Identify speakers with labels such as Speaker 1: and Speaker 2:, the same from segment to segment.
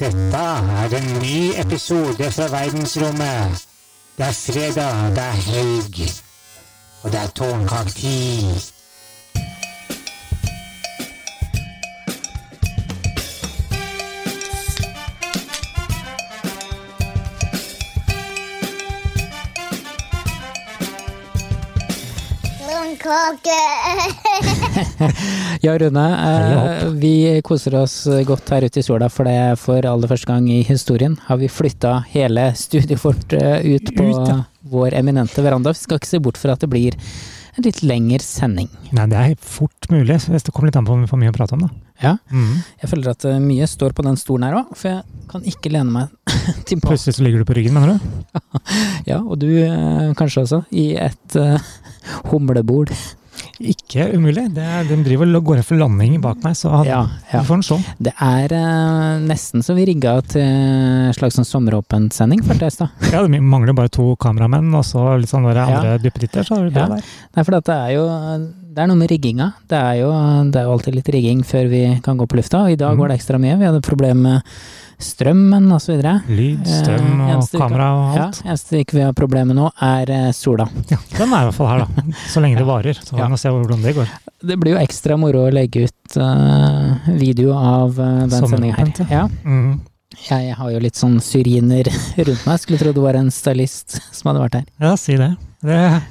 Speaker 1: Dette er en ny episode fra verdensrommet. Det er fredag, det er helg, og det er tårnkaketid.
Speaker 2: Blomkake!
Speaker 3: Ja, Rune. Eh, vi koser oss godt her ute i sola, for det er for aller første gang i historien har vi flytta hele studioet vårt eh, ut på
Speaker 4: Ut, ja.
Speaker 3: vår eminente veranda. Vi skal ikke se bort fra at det blir en litt lengre sending.
Speaker 4: Nei, det er fort mulig, hvis det kommer litt an på om vi får mye å prate om, da.
Speaker 3: Ja,
Speaker 4: Mm.
Speaker 3: jeg føler at eh, mye står på den stolen her òg, for jeg kan ikke lene meg tilbake.
Speaker 4: Plutselig så ligger du på ryggen, mener du?
Speaker 3: Ja, og du eh, kanskje også, i et eh, humlebol.
Speaker 4: Ikke umulig. Det er, de driver og går for landing bak meg, så han,
Speaker 3: Ja, ja.
Speaker 4: vi får en sånn.
Speaker 3: Det er eh, nesten så vi rigga til en slags sånn sommeråpensending, føltes det.
Speaker 4: Ja, det mangler bare to kameramenn, og så litt sånn der
Speaker 3: Ja.
Speaker 4: andre duppeditter, så har du det
Speaker 3: Ja.
Speaker 4: der.
Speaker 3: Nei, for at det er jo eh, det er noe med rigginga. Det er, jo, eh, det er jo alltid litt rigging før vi kan gå på lufta, og i dag
Speaker 4: Mhm.
Speaker 3: var det ekstra mye. Vi hadde problemer med strømmen osv.
Speaker 4: Lyd,
Speaker 3: Eh,
Speaker 4: strøm og
Speaker 3: eneste uka.
Speaker 4: kamera og
Speaker 3: Ja,
Speaker 4: alt.
Speaker 3: eneste ikke vi har problemer med nå, er eh, sola.
Speaker 4: Ja. Den er i hvert fall her, da. Så lenge det varer. Så får
Speaker 3: Ja.
Speaker 4: vi nå se hvordan det går.
Speaker 3: Det blir jo ekstra moro å legge ut eh, video av eh, den sendinga her.
Speaker 4: Sommeråpent,
Speaker 3: Ja,
Speaker 4: Mm.
Speaker 3: jeg har jo litt sånn syriner rundt meg. Skulle tro det var en stylist som hadde vært her.
Speaker 4: Ja, si det. Det,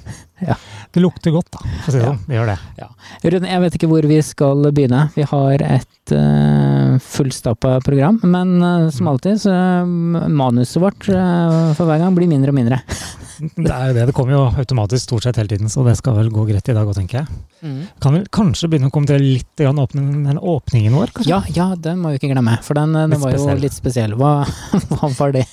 Speaker 3: Ja.
Speaker 4: det lukter godt, da, for å si det
Speaker 3: Ja.
Speaker 4: sånn. Det gjør det.
Speaker 3: Rune, jeg vet ikke hvor vi skal begynne. Vi har et uh, fullstappa program, men eh,
Speaker 4: Mm.
Speaker 3: som alltid så eh, manuset vårt eh, for hver gang blir mindre og mindre.
Speaker 4: Det er jo det. Det kommer jo automatisk stort sett hele tiden, så det skal vel gå greit i dag òg, tenker jeg. Kan vel kanskje begynne å kommentere litt grann åpning, den åpningen vår, kanskje?
Speaker 3: Ja, ja, den må vi ikke glemme, for den, eh,
Speaker 4: Litt
Speaker 3: den var jo
Speaker 4: spesiell.
Speaker 3: litt spesiell. Hva, hva var det?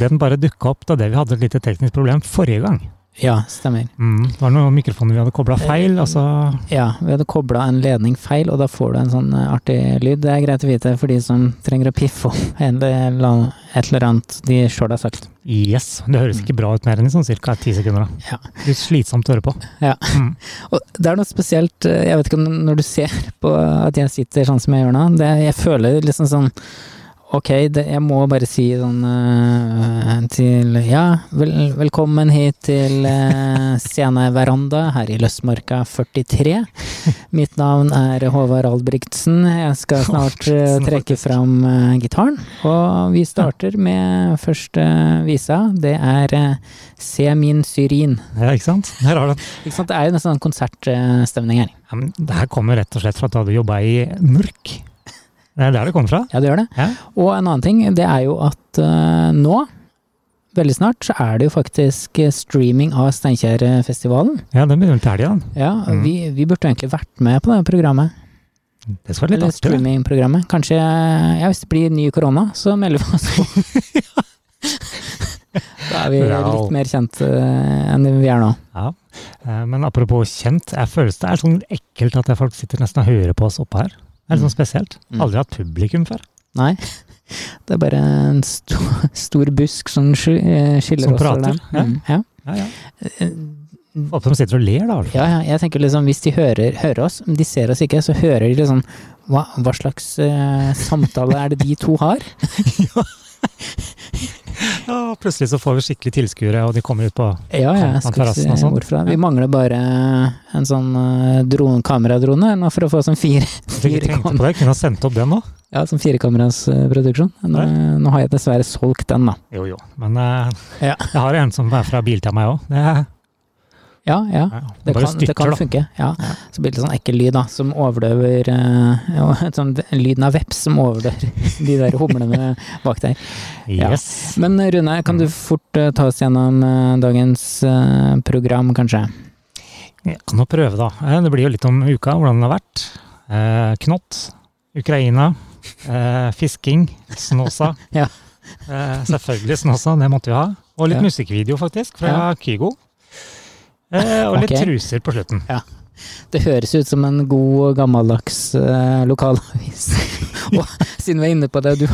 Speaker 4: Den bare dukka opp da det vi hadde et lite teknisk problem forrige gang.
Speaker 3: Ja, stemmer.
Speaker 4: Mm, Eh. det var noen mikrofoner vi hadde kobla feil, altså, og så
Speaker 3: Ja, vi hadde kobla en ledning feil, og da får du en sånn eh, artig lyd. Det er greit å vite for de som trenger å piffe opp en eller annen- et eller annet de sjøl har sagt.
Speaker 4: Yes! Det høres ikke bra ut mer enn i sånn ca. ti sekunder. da.
Speaker 3: Ja.
Speaker 4: Litt slitsomt å høre på.
Speaker 3: Og det er noe spesielt, eh, jeg vet ikke om når du ser på at jeg sitter sånn som jeg gjør nå, det, jeg føler liksom sånn Ok, det, jeg må bare si sånn eh, til Ja, vel, velkommen hit til uh, Sena veranda her i Løsmarka 43. Mitt navn er Håvard Albrigtsen. Jeg skal snart eh, trekke fram eh, gitaren. Og vi starter med første visa. Det er eh, Se min syrin.
Speaker 4: Ja, ikke sant? Der har du den.
Speaker 3: Ikke sant? Det er jo nesten en konsertstemning her.
Speaker 4: Ja, men det her kommer rett og slett fra at du hadde jobba i mørk. Det er der det kommer fra.
Speaker 3: Ja, det gjør det.
Speaker 4: Ja.
Speaker 3: Og en annen ting, det er jo at eh, nå, veldig snart, så er det jo faktisk eh, streaming av Steinkjerfestivalen.
Speaker 4: Ja, den begynner vel til helga, den.
Speaker 3: Ja,
Speaker 4: Mm.
Speaker 3: vi, vi burde egentlig vært med på det programmet.
Speaker 4: Det skal
Speaker 3: eller
Speaker 4: være litt artig. det.
Speaker 3: streamingprogrammet. Kanskje Ja, hvis det blir ny korona, så melder vi oss på. da er vi
Speaker 4: Wow.
Speaker 3: litt mer kjent eh, enn vi er nå.
Speaker 4: Ja. Eh, Men apropos kjent, jeg føles det er sånn ekkelt at folk sitter nesten og hører på oss oppe her. Det er litt sånn spesielt.
Speaker 3: Mm.
Speaker 4: Aldri hatt publikum før.
Speaker 3: Nei. Det er bare en sto, stor busk som sky- eh, skiller
Speaker 4: Som
Speaker 3: oss fra
Speaker 4: prater,
Speaker 3: dem.
Speaker 4: ja.
Speaker 3: Mm, ja.
Speaker 4: Ja, ja.
Speaker 3: Eh,
Speaker 4: Håper de sitter og ler, da.
Speaker 3: Ja, ja, jeg tenker liksom hvis de hører, hører oss, men de ser oss ikke, så hører de liksom hva, hva slags eh, samtale er det de to har?
Speaker 4: Ja, og plutselig så får vi skikkelig tilskuere, og de kommer ut på
Speaker 3: Ja, ja, jeg skal ikke
Speaker 4: Terrassen og
Speaker 3: si
Speaker 4: sånn.
Speaker 3: hvorfra. Vi mangler bare en sånn eh, drone, kameradrone nå for å få sånn fire,
Speaker 4: Hvis jeg ikke
Speaker 3: Fire
Speaker 4: tenkte på det, kunne ha sendt opp den nå.
Speaker 3: ja, sånn firekameras eh, produksjon. Nå, nå har jeg dessverre solgt den, da.
Speaker 4: Jo, jo. Men eh,
Speaker 3: Ja.
Speaker 4: jeg har en som er fra Biltema, jeg òg. Det, er-
Speaker 3: Ja, ja.
Speaker 4: ja, det
Speaker 3: Det
Speaker 4: bare
Speaker 3: kan, det kan
Speaker 4: da.
Speaker 3: funke. Ja.
Speaker 4: Ja.
Speaker 3: Så blir det litt sånn ekkel lyd, da, som overdøver eh, ja, sånn, Lyden av veps som overdøver de der humlene bak der. Ja.
Speaker 4: Yes. Mm.
Speaker 3: Men eh, Rune, kan du fort eh, ta oss gjennom eh, dagens eh, program, kanskje?
Speaker 4: Jeg kan jo prøve, da. Eh, Det blir jo litt om uka, hvordan den har vært. Eh, knott. Ukraina. Eh, fisking. Snåsa.
Speaker 3: Ja.
Speaker 4: Eh, selvfølgelig Snåsa, det måtte vi ha. Og litt
Speaker 3: Ja.
Speaker 4: musikkvideo, faktisk, fra
Speaker 3: Ja.
Speaker 4: Kygo. Eh, og litt
Speaker 3: Ok.
Speaker 4: truser på slutten.
Speaker 3: Det høres ut som en god og gammeldags eh, lokalavis. og siden vi er inne på det, du,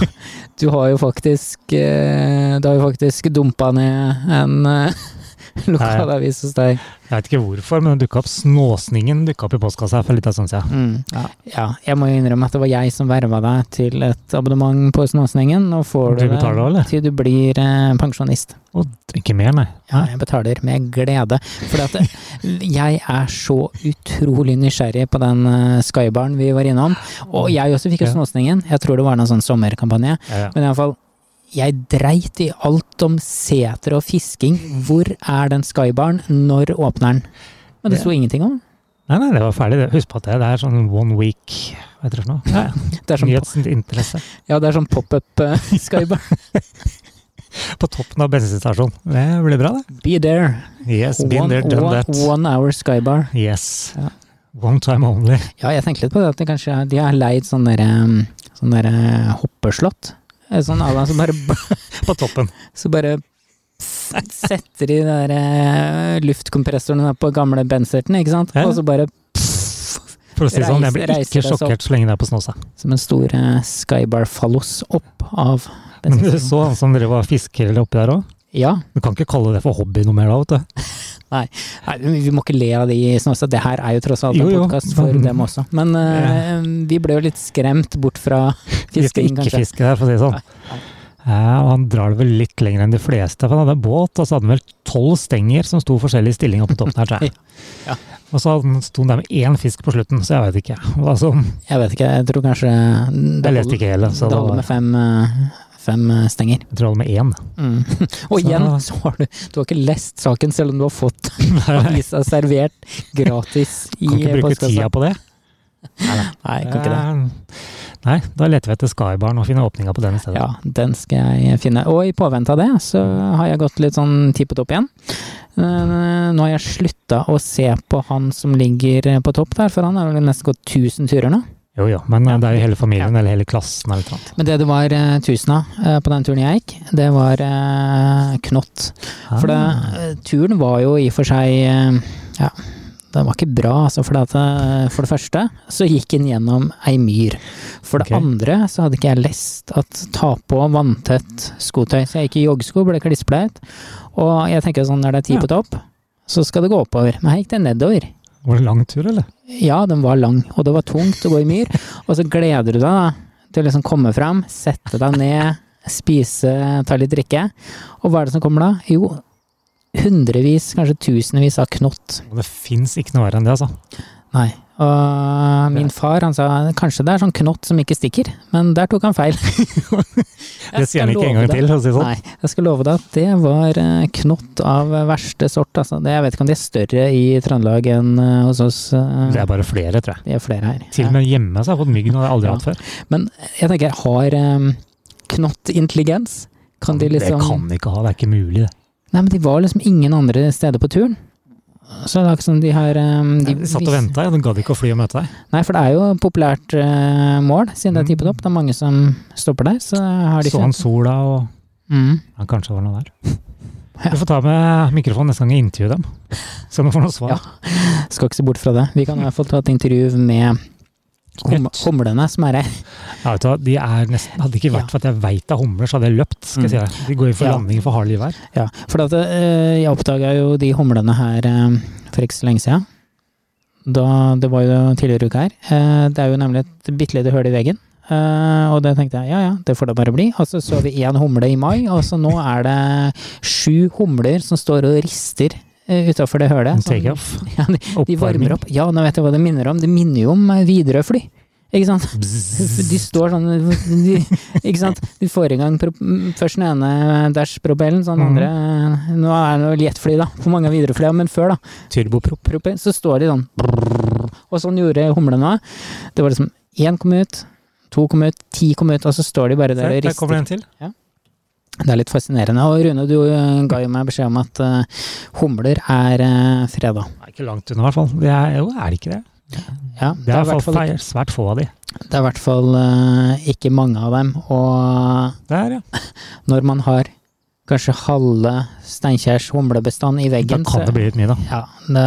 Speaker 3: du har jo faktisk eh, Du har jo faktisk dumpa ned en eh, lokalavis hos deg.
Speaker 4: Jeg vet ikke hvorfor, men det dukket opp Snåsningen dukket opp i postkassa for litt av sånn siden.
Speaker 3: Mm.
Speaker 4: Ja.
Speaker 3: Ja, jeg må jo innrømme at det var jeg som verva deg til et abonnement på Snåsningen. Nå får du,
Speaker 4: Du betaler det, eller?
Speaker 3: det til du blir eh, pensjonist.
Speaker 4: Ikke mer, nei.
Speaker 3: Ja, jeg betaler med glede. For at jeg er så utrolig nysgjerrig på den eh, skybaren vi var innom. Og jeg også fikk jo
Speaker 4: Ja.
Speaker 3: Snåsningen. Jeg tror det var noen sånn sommerkampanje.
Speaker 4: Ja, ja.
Speaker 3: Men iallfall, jeg dreit i alt om seter og fisking. Hvor er den skybaren? Når åpner den? Men det
Speaker 4: Ja.
Speaker 3: sto ingenting om den.
Speaker 4: Nei, nei, det var ferdig. det. Husk på at det, det er sånn one week, hva heter det for noe? Ja,
Speaker 3: Det er sånn,
Speaker 4: Nyhetsinteresse.
Speaker 3: ja, det er sånn pop-up eh, skybar.
Speaker 4: På toppen av bensinstasjonen. Det blir bra, det.
Speaker 3: Be there.
Speaker 4: Yes, been
Speaker 3: One,
Speaker 4: there, done
Speaker 3: one,
Speaker 4: that.
Speaker 3: one hour skybar.
Speaker 4: Yes.
Speaker 3: Ja.
Speaker 4: One time only.
Speaker 3: Ja, jeg tenkte litt på det, at de kanskje de har leid sånn derre sånn der, eh, hoppeslott. Eh, Sånn alle som bare,
Speaker 4: På toppen.
Speaker 3: så bare s- setter de der eh, luftkompressorene på gamle Benserten, ikke sant?
Speaker 4: Ja.
Speaker 3: Og så bare
Speaker 4: For å si det sånn, jeg blir
Speaker 3: Reiser- reiser
Speaker 4: ikke
Speaker 3: det så opp.
Speaker 4: sjokkert så lenge det er på Snåsa.
Speaker 3: som en stor eh, skybar-fallos opp av
Speaker 4: Men du
Speaker 3: bensinstasjonen.
Speaker 4: så han som drev og fisker oppi der òg.
Speaker 3: Ja.
Speaker 4: Du kan ikke kalle det for hobby noe mer da, vet du.
Speaker 3: Nei, men vi må ikke le av de som også Det her er jo tross alt
Speaker 4: Jo,
Speaker 3: en
Speaker 4: jo. Mm.
Speaker 3: podkast for dem også. Men eh, vi ble jo litt skremt bort fra
Speaker 4: Vi skal
Speaker 3: fisking,
Speaker 4: ikke
Speaker 3: kanskje.
Speaker 4: fiske der, for å si det sånn. Ja, og han drar det vel litt lenger enn de fleste, for han hadde en båt, og så hadde han vel tolv stenger som sto i forskjellige stillinger på toppen her, tror jeg.
Speaker 3: Ja.
Speaker 4: Og så hadde han- sto han der med én fisk på slutten, så jeg vet ikke hva som
Speaker 3: Jeg vet ikke, jeg tror kanskje det
Speaker 4: Jeg leste ikke hele, så
Speaker 3: Det
Speaker 4: det
Speaker 3: holder
Speaker 4: var,
Speaker 3: med fem, eh, fem eh, stenger.
Speaker 4: jeg tror det var med én.
Speaker 3: Mm. Og
Speaker 4: Så-
Speaker 3: igjen, så har du Du har ikke lest saken, selv om du har fått avisa servert gratis i
Speaker 4: Kan ikke bruke
Speaker 3: postkassa.
Speaker 4: tida på det. Eh,
Speaker 3: Nei, kan ikke det.
Speaker 4: Nei, da leter vi etter Skybaren og finner åpninga på den i stedet.
Speaker 3: Ja, den skal jeg finne. Og i påvente av det, så har jeg gått litt sånn ti på topp igjen. Eh, Nå har jeg slutta å se på han som ligger eh, på topp der, for han har vel nesten gått 1000 turer nå.
Speaker 4: Jo jo, men eh, det er jo hele familien eller hele klassen eller noe sånt.
Speaker 3: Men det det var eh, 1000 av eh, på den turen jeg gikk, det var eh, knott.
Speaker 4: Ah.
Speaker 3: For det, eh, turen var jo i og for seg eh, Ja, den var ikke bra, altså. For det, at, eh, for det første så gikk den gjennom ei myr. For det
Speaker 4: Ok.
Speaker 3: andre så hadde ikke jeg lest at ta på vanntett skotøy. Så jeg gikk i joggesko, ble klissblaut. Og jeg tenker sånn når det er ti
Speaker 4: Ja.
Speaker 3: på topp, så skal det gå oppover. Men her gikk det nedover.
Speaker 4: Var det lang tur, eller?
Speaker 3: Ja, den var lang, og det var tungt å gå i myr. Og så gleder du deg da, til å liksom komme fram, sette deg ned, spise, ta litt drikke. Og hva er det som kommer da? Jo, hundrevis, kanskje tusenvis av knott.
Speaker 4: Og det fins ikke noe verre enn det, altså.
Speaker 3: Nei. Og min far han sa kanskje det er sånn knott som ikke stikker, men der tok han feil.
Speaker 4: Det sier han ikke en gang til, for å si det sånn.
Speaker 3: Nei, jeg skal love deg at det var eh, knott av verste sort. Altså. Det, jeg vet ikke om de er større i Trøndelag enn eh, hos oss. eh,
Speaker 4: Det er bare flere, tror jeg.
Speaker 3: Det er flere her.
Speaker 4: Til og med hjemme så har jeg fått mygg, og det har jeg aldri
Speaker 3: Ja.
Speaker 4: hatt før.
Speaker 3: Men jeg tenker, har em, knott intelligens? Kan de liksom
Speaker 4: Det kan de ikke ha, det er ikke mulig, det.
Speaker 3: Nei, men de var liksom ingen andre steder på turen. Så det er ikke som de har em,
Speaker 4: De, satt og
Speaker 3: vis-
Speaker 4: venta, de gadd ikke å fly og møte deg.
Speaker 3: Nei, for det er jo et populært eh, mål, siden det er ti på topp. Det er mange som stopper der, så har de
Speaker 4: Mm. Så han sola, og
Speaker 3: Mm.
Speaker 4: ja, kanskje det var noe der.
Speaker 3: Ja.
Speaker 4: Du får ta med mikrofonen neste gang jeg intervjuer dem, så vi får noe svar.
Speaker 3: Ja. Skal ikke se bort fra det. Vi kan i hvert fall ta et intervju med hum
Speaker 4: Knott.
Speaker 3: humlene som er her.
Speaker 4: Ja, vet du, hva, de er nesten, hadde det ikke vært
Speaker 3: Ja. Mm.
Speaker 4: for at jeg veit det er humler, så hadde jeg løpt. skal jeg si deg. De går jo for
Speaker 3: Ja.
Speaker 4: landing for hard liv her.
Speaker 3: Ja, for at, eh, jeg oppdaga jo de humlene her eh, for ikke så lenge siden. Da, det var jo tidligere uke her. Eh, det er jo nemlig et bitte lite høl i veggen. Eh, og det tenkte jeg ja ja, det får det bare bli. Og så så vi én humle i mai, og så nå er det sju humler som står og rister uh, utafor det hølet. som-
Speaker 4: Take off.
Speaker 3: ja, de, de varmer opp. Ja, nå vet jeg hva det minner om. Det minner jo om eh, Widerøe-fly. Ikke sant? De står sånn de, Ikke sant? De får i gang prop først den ene dash-propellen, så den
Speaker 4: Mhm.
Speaker 3: andre Nå er det jo jetfly, da, på mange av Widerøe-flya, men før, da.
Speaker 4: Turboprop.
Speaker 3: Propell, så står de sånn Og sånn gjorde humlene òg. Det var liksom én kom ut, to kom ut, ti kom ut, og så står de bare
Speaker 4: Der,
Speaker 3: der og
Speaker 4: der kommer
Speaker 3: rister.
Speaker 4: en til.
Speaker 3: Det er litt fascinerende. Og Rune, du eh, ga jo meg beskjed om at eh, humler er uh, freda.
Speaker 4: Nei, ikke langt unna, i hvert fall. Det er, jo, er det ikke det?
Speaker 3: Ja,
Speaker 4: Det er i hvert fall
Speaker 3: fall,
Speaker 4: feil- svært få av de.
Speaker 3: det er i hvert fall eh, ikke mange av dem, og
Speaker 4: Der, ja.
Speaker 3: når man har kanskje halve Steinkjers humlebestand i
Speaker 4: Da
Speaker 3: veggen.
Speaker 4: kan det bli litt mye, da.
Speaker 3: Ja, det,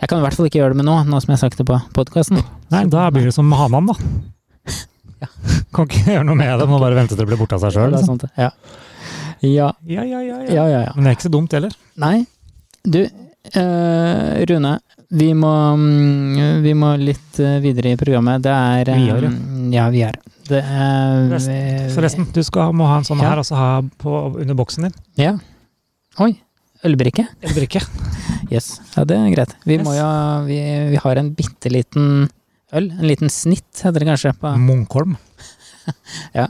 Speaker 3: jeg kan i hvert fall ikke gjøre det med nå, nå som jeg har sagt det på podkasten.
Speaker 4: Nei, da blir det som med hanan, da. Kan ikke gjøre noe med det, må bare vente til det liksom. blir borte av seg sjøl.
Speaker 3: Ja. ja,
Speaker 4: Ja, ja, ja, ja.
Speaker 3: ja, ja. ja.
Speaker 4: Men det er ikke så dumt heller.
Speaker 3: Nei, Du, eh, Rune, vi må, mm, vi må litt eh, videre i programmet. Det er eh,
Speaker 4: Videre?
Speaker 3: Ja, vi er. Det er
Speaker 4: Rest-
Speaker 3: vi-
Speaker 4: Forresten, du skal, må ha en sånn
Speaker 3: Ja.
Speaker 4: her, og så ha på, under boksen din.
Speaker 3: Ja. Oi. Ølbrikke?
Speaker 4: En brikke.
Speaker 3: Yes. Ja, det er greit. Vi, må
Speaker 4: Yes.
Speaker 3: jo, vi, vi har en bitte liten øl. En liten snitt, heter det kanskje. På.
Speaker 4: Munkholm.
Speaker 3: Ja.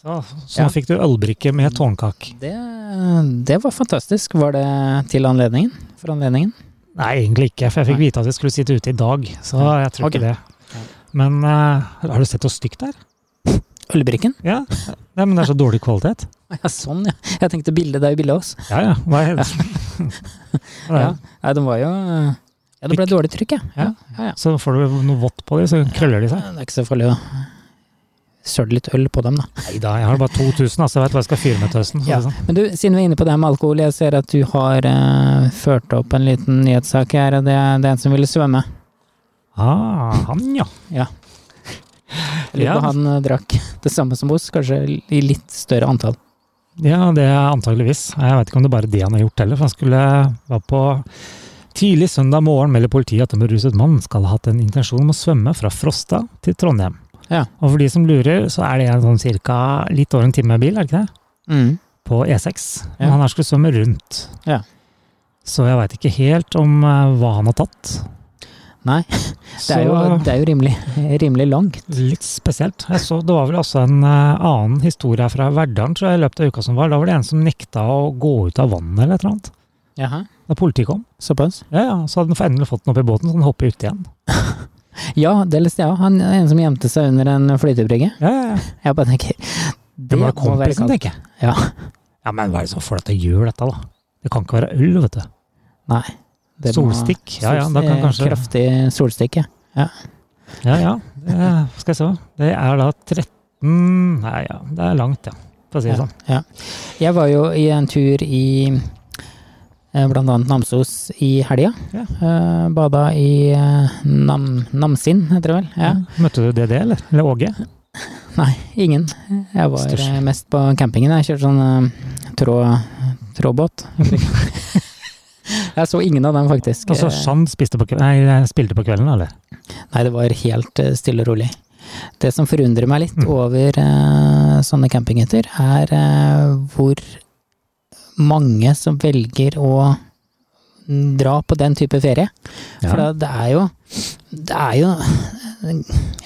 Speaker 4: Så, så
Speaker 3: Ja.
Speaker 4: fikk du ølbrikke med tårnkak.
Speaker 3: Det, det var fantastisk. Var det til anledningen? For anledningen?
Speaker 4: Nei, egentlig ikke, for jeg fikk
Speaker 3: Nei.
Speaker 4: vite at vi skulle sitte ute i dag, så jeg tror
Speaker 3: Ok.
Speaker 4: ikke det. Men eh, har du sett hvor stygt det er?
Speaker 3: Ølbrikken?
Speaker 4: Ja. Nei, men det er så dårlig kvalitet.
Speaker 3: Ja, sånn, ja. Jeg tenkte bildet. Det er jo bilde av oss.
Speaker 4: Ja, ja. Nei,
Speaker 3: Ja. Nei, den var jo Ja, det ble dårlig trykk, ja. ja. ja, ja.
Speaker 4: Så får du noe vått på dem, så krøller de seg.
Speaker 3: Det er ikke så farlig å søle litt øl på dem, da.
Speaker 4: Nei da, jeg har bare 2000, altså jeg vet hva jeg skal fyre med til høsten.
Speaker 3: Ja.
Speaker 4: Ja.
Speaker 3: Men du, siden vi er inne på det med alkohol, jeg ser at du har eh, ført opp en liten nyhetssak her, og det er det er en som ville svømme.
Speaker 4: Ah, han ja.
Speaker 3: Jeg Lurer
Speaker 4: Ja.
Speaker 3: på han eh, drakk det samme som oss, kanskje i litt større antall.
Speaker 4: Ja, det er antageligvis. Jeg vet ikke om det er bare det han har gjort heller, for han skulle være på tidlig søndag morgen melder politiet at en beruset mann skal ha hatt en intensjon om å svømme fra Frosta til Trondheim.
Speaker 3: Ja.
Speaker 4: Og for de som lurer, så er det en sånn cirka litt over en time med bil, er det ikke det?
Speaker 3: Mm.
Speaker 4: På E6.
Speaker 3: Ja.
Speaker 4: Men han her skulle svømme rundt.
Speaker 3: Ja.
Speaker 4: Så jeg veit ikke helt om eh, hva han har tatt.
Speaker 3: Nei, Det er jo, det er jo rimelig, rimelig langt.
Speaker 4: Litt spesielt. Jeg så, det var vel også en eh, annen historie her fra Verdalen tror jeg, i løpet av uka som var. Da var det en som nekta å gå ut av vannet eller et eller annet.
Speaker 3: Jaha.
Speaker 4: Da politiet kom.
Speaker 3: Såpass?
Speaker 4: Ja, ja, Så hadde han endelig fått den opp i båten, så den hopper ut igjen.
Speaker 3: Ja, det leste jeg òg. Han en som gjemte seg under en flytebrygge.
Speaker 4: Ja, ja, ja.
Speaker 3: Jeg bare tenker
Speaker 4: Det var
Speaker 3: må være
Speaker 4: kompisen,
Speaker 3: kaldt.
Speaker 4: tenker jeg.
Speaker 3: Ja.
Speaker 4: ja, men hva er det som får deg til å gjøre dette, da? Det kan ikke være øl, vet du.
Speaker 3: Det må-
Speaker 4: Solstikk. Ja, ja, da
Speaker 3: Solsti-
Speaker 4: kan kanskje
Speaker 3: Kraftig solstikk, ja.
Speaker 4: Ja, ja. Det, skal jeg se. Det er da 13 Nei, ja. Det er langt, ja. For å si det sånn.
Speaker 3: Ja. Jeg var jo i en tur i eh, blant annet Namsos i helga.
Speaker 4: Ja.
Speaker 3: Eh, Bada i eh, Nam, Namsin, heter det vel. Ja.
Speaker 4: Møtte du DD, eller? Eller Åge?
Speaker 3: Nei, ingen. Jeg var
Speaker 4: Størs.
Speaker 3: eh, mest på campingen. Jeg kjørte sånn eh, trå, tråbåt. Jeg så ingen av dem, faktisk.
Speaker 4: Altså,
Speaker 3: Eh,
Speaker 4: Shand spiste på, kve- nei, spilte på kvelden, eller?
Speaker 3: Nei, det var helt eh, stille og rolig. Det som forundrer meg litt
Speaker 4: Mm.
Speaker 3: over eh, sånne campinghytter, er eh, hvor mange som velger å dra på den type ferie. For da, det er jo Det er jo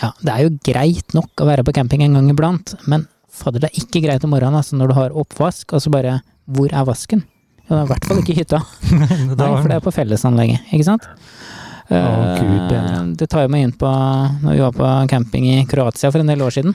Speaker 3: Ja, det er jo greit nok å være på camping en gang iblant, men fadder, det er ikke greit om morgenen altså, når du har oppvask, og så bare Hvor er vasken? Ja, det er i hvert fall ikke i hytta.
Speaker 4: Da
Speaker 3: Nei,
Speaker 4: var
Speaker 3: for det
Speaker 4: den-
Speaker 3: er på fellesanlegget, ikke sant?
Speaker 4: Å, Gud,
Speaker 3: Eh, det tar jo meg inn på når vi var på camping i Kroatia for en del år siden.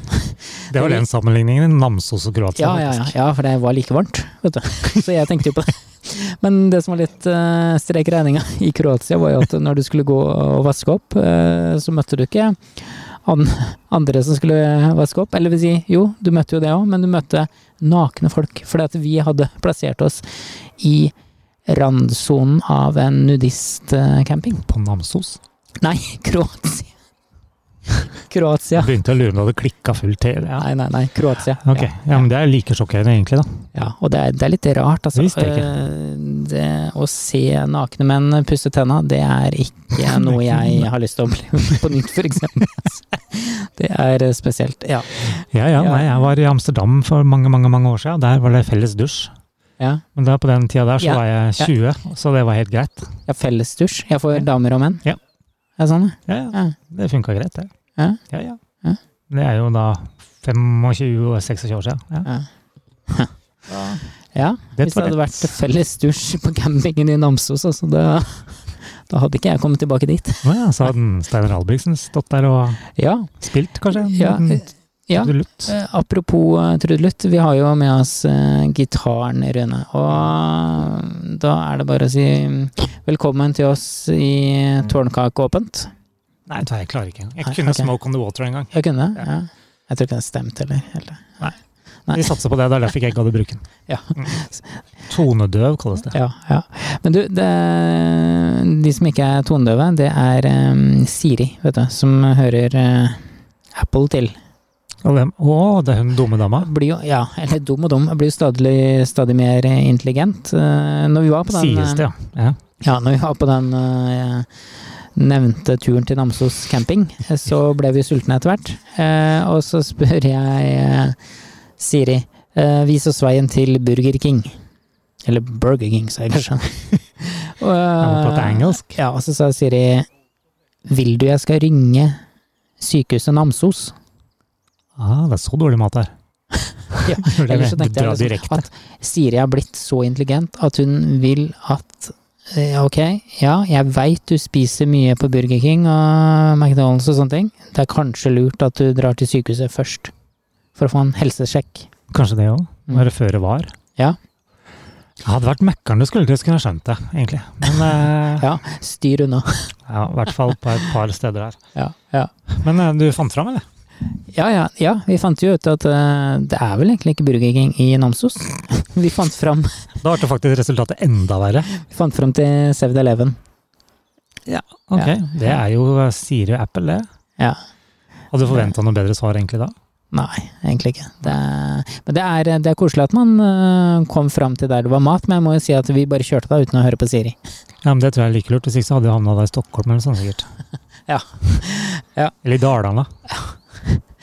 Speaker 4: det var den sammenligningen. i Namsos og Kroatia.
Speaker 3: Ja, ja, ja,
Speaker 4: faktisk.
Speaker 3: ja for det var like varmt, vet du. Så jeg tenkte jo på det. Men det som var litt eh, strek i regninga i Kroatia, var jo at når du skulle gå og vaske opp, eh, så møtte du ikke an andre som skulle vaske opp. Eller vil si, jo, du møtte jo det òg, men du møtte nakne folk. Fordi at vi hadde plassert oss i randsonen av en nudistcamping.
Speaker 4: På Namsos.
Speaker 3: Nei, Kroatia. Kroatia.
Speaker 4: Begynte å lure når det klikka fullt til. Ja.
Speaker 3: Nei, nei, nei, Kroatia.
Speaker 4: Ok,
Speaker 3: Ja,
Speaker 4: ja, men Det er like sjokkerende, egentlig. da.
Speaker 3: ja, og det er, det er litt rart, altså.
Speaker 4: Det visste jeg
Speaker 3: Eh, Det, å se nakne menn pusse tenna, det er ikke noe jeg har lyst til å oppleve på nytt, for eksempel. Det er eh, spesielt. Ja.
Speaker 4: Ja, ja,
Speaker 3: Ja.
Speaker 4: nei, Jeg var i Amsterdam for mange mange, mange år siden. Der var det felles dusj.
Speaker 3: ja.
Speaker 4: Men da, på den tida der så
Speaker 3: Ja.
Speaker 4: var jeg 20, så det var helt greit.
Speaker 3: Jeg har fellesdusj. Jeg får
Speaker 4: Ja.
Speaker 3: damer og menn.
Speaker 4: Ja.
Speaker 3: Er det sånn?
Speaker 4: Ja, ja.
Speaker 3: Ja.
Speaker 4: Det funka greit, det.
Speaker 3: Ja.
Speaker 4: Ja, ja.
Speaker 3: Ja.
Speaker 4: Det er jo da 25-26 år siden. Ja.
Speaker 3: Ja. ja.
Speaker 4: Det
Speaker 3: Hvis det
Speaker 4: var
Speaker 3: hadde
Speaker 4: det.
Speaker 3: vært fellesdusj på campingen i Namsos, altså, da, da hadde ikke jeg kommet tilbake dit.
Speaker 4: Å Ja, så hadde en Steinar Albrigtsen stått der og
Speaker 3: Ja.
Speaker 4: spilt, kanskje? en
Speaker 3: Ja,
Speaker 4: liten
Speaker 3: ja.
Speaker 4: trudelutt.
Speaker 3: Eh, Apropos eh, trudelutt, vi har jo med oss eh, gitaren, Rune. Og da er det bare å si mm, velkommen til oss i Tårnkake åpent.
Speaker 4: Nei, vet du hva, jeg klarer ikke engang. Jeg
Speaker 3: Nei,
Speaker 4: kunne
Speaker 3: ok.
Speaker 4: Smoke on the Water en gang.
Speaker 3: Jeg kunne det?
Speaker 4: Ja.
Speaker 3: Ja. Jeg tror ikke det stemte, eller? eller. Nei.
Speaker 4: Vi satser på det, det er derfor jeg ikke hadde brukt den.
Speaker 3: Ja.
Speaker 4: Mm. Tonedøv kalles det.
Speaker 3: Ja, ja. Men du, det, de som ikke er mm, tonedøve, det er eh, Siri, vet du, som hører eh, Apple til.
Speaker 4: Og dem- Å, det er hun dumme dama.
Speaker 3: Blir jo, ja, eller dum og dum, jeg blir jo stadig, stadig mer intelligent. Eh, Når vi var på den,
Speaker 4: Sies det, ja. ja.
Speaker 3: Ja, når vi var på den eh, nevnte turen til Namsos camping, eh, så ble vi sultne etter hvert. Eh, og så spør jeg eh, Siri, eh, vis oss veien til Burger King. Eller Burger King, sa jeg kanskje. og,
Speaker 4: Han prater engelsk.
Speaker 3: ja, og så sa Siri, vil du jeg skal ringe sykehuset Namsos?
Speaker 4: Ah, det er så dårlig mat her.
Speaker 3: eh, Ja,
Speaker 4: Dårlig
Speaker 3: Eller så
Speaker 4: mat.
Speaker 3: tenkte
Speaker 4: Dra
Speaker 3: jeg
Speaker 4: direkte.
Speaker 3: liksom at Siri er blitt så intelligent at hun vil at eh, Ok, ja, jeg veit du spiser mye på Burger King og McDonald's og sånne ting. Det er kanskje lurt at du drar til sykehuset først for å få en helsesjekk.
Speaker 4: Kanskje det òg.
Speaker 3: Mm.
Speaker 4: Være føre var.
Speaker 3: Ja.
Speaker 4: Det hadde vært Mækkern du skulle til, skulle jeg skjønt det, egentlig. Men eh,
Speaker 3: Ja, styr unna.
Speaker 4: ja, i hvert fall på et par steder her.
Speaker 3: Ja, ja.
Speaker 4: Men eh, du fant fram, eller?
Speaker 3: ja, ja, ja vi fant jo ut at eh, det er vel egentlig ikke Burger King i Namsos. Vi fant fram,
Speaker 4: Da ble faktisk resultatet enda verre.
Speaker 3: vi fant fram til 7-Eleven.
Speaker 4: Ok,
Speaker 3: Ja.
Speaker 4: Det er jo eh, Siri og Apple, det.
Speaker 3: Ja.
Speaker 4: Hadde du forventa noe bedre svar egentlig da?
Speaker 3: Nei, egentlig ikke. Det er, men det er, det er koselig at man øh, kom fram til der det var mat, men jeg må jo si at vi bare kjørte da uten å høre på Siri.
Speaker 4: Ja, men Det tror jeg er like lurt. Hvis ikke så hadde jeg havna da i Stockholm eller noe sånt sikkert.
Speaker 3: Ja. Ja.
Speaker 4: Eller i Dalarna. I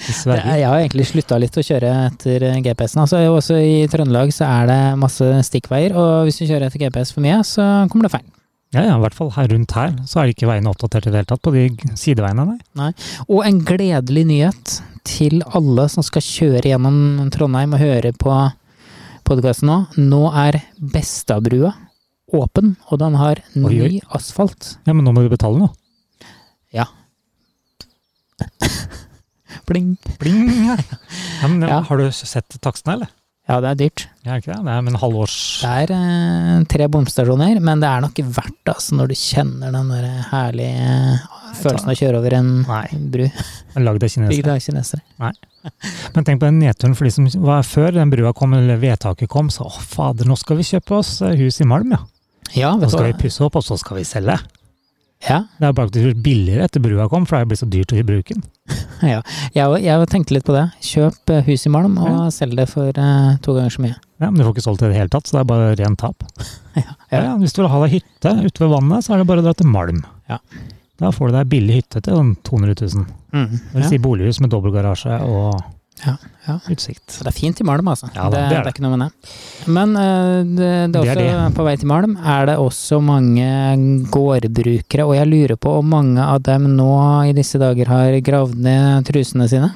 Speaker 3: Det,
Speaker 4: Sverige.
Speaker 3: jeg har egentlig slutta litt å kjøre etter øh, GPS-en. Altså, også i Trøndelag så er det masse stikkveier, og hvis du kjører etter GPS for mye, så kommer det feil.
Speaker 4: Ja, ja, i hvert fall her rundt her så er ikke veiene oppdatert i det hele tatt på de g- sideveiene, nei.
Speaker 3: Og en gledelig nyhet til alle som skal kjøre gjennom Trondheim og høre på podkasten nå. Nå er Bestabrua åpen, og den har ny
Speaker 4: Oi, oi.
Speaker 3: asfalt.
Speaker 4: Ja, Men nå må du betale noe.
Speaker 3: Pling!
Speaker 4: Bling! Ja, men,
Speaker 3: Ja.
Speaker 4: Har du sett takstene, eller?
Speaker 3: Ja, det er dyrt.
Speaker 4: Ja, ikke det? Det er med en halvårs
Speaker 3: Det er eh, tre bomstasjoner, men det er nok verdt det altså, når du kjenner den der herlige eh, følelsen av å kjøre over en
Speaker 4: Nei,
Speaker 3: bru.
Speaker 4: lagd av kinesere.
Speaker 3: Bygd av kinesere.
Speaker 4: Men tenk på den nedturen for de som var før den brua kom, eller vedtaket kom, så å fader, nå skal vi kjøpe oss eh, hus i Malm, ja.
Speaker 3: Ja,
Speaker 4: Nå
Speaker 3: vet du
Speaker 4: skal
Speaker 3: hva.
Speaker 4: vi pusse opp, og så skal vi selge.
Speaker 3: Ja,
Speaker 4: Det er bare at det blir billigere etter brua kom, for det er blitt så dyrt å bruke den.
Speaker 3: ja. Jeg, jeg tenkte litt på det. Kjøp eh, hus i Malm og selg det for eh, to ganger så mye.
Speaker 4: Ja, men du får ikke solgt det i det hele tatt, så det er bare rent tap.
Speaker 3: ja.
Speaker 4: Ja, ja, hvis du vil ha deg hytte ute ved vannet, så er det bare å dra til Malm.
Speaker 3: Ja.
Speaker 4: Da får du deg billig hytte til sånn 200 000. Det Mm, vil
Speaker 3: Ja.
Speaker 4: si bolighus med dobbeltgarasje og
Speaker 3: Ja, ja.
Speaker 4: utsikt.
Speaker 3: Så det er fint i Malm, altså.
Speaker 4: Ja da,
Speaker 3: det,
Speaker 4: det er
Speaker 3: det,
Speaker 4: det.
Speaker 3: er ikke noe med det. Men eh, det, det er
Speaker 4: Det er
Speaker 3: også på vei til Malm er det også mange gårdbrukere, og jeg lurer på om mange av dem nå i disse dager har gravd ned trusene sine.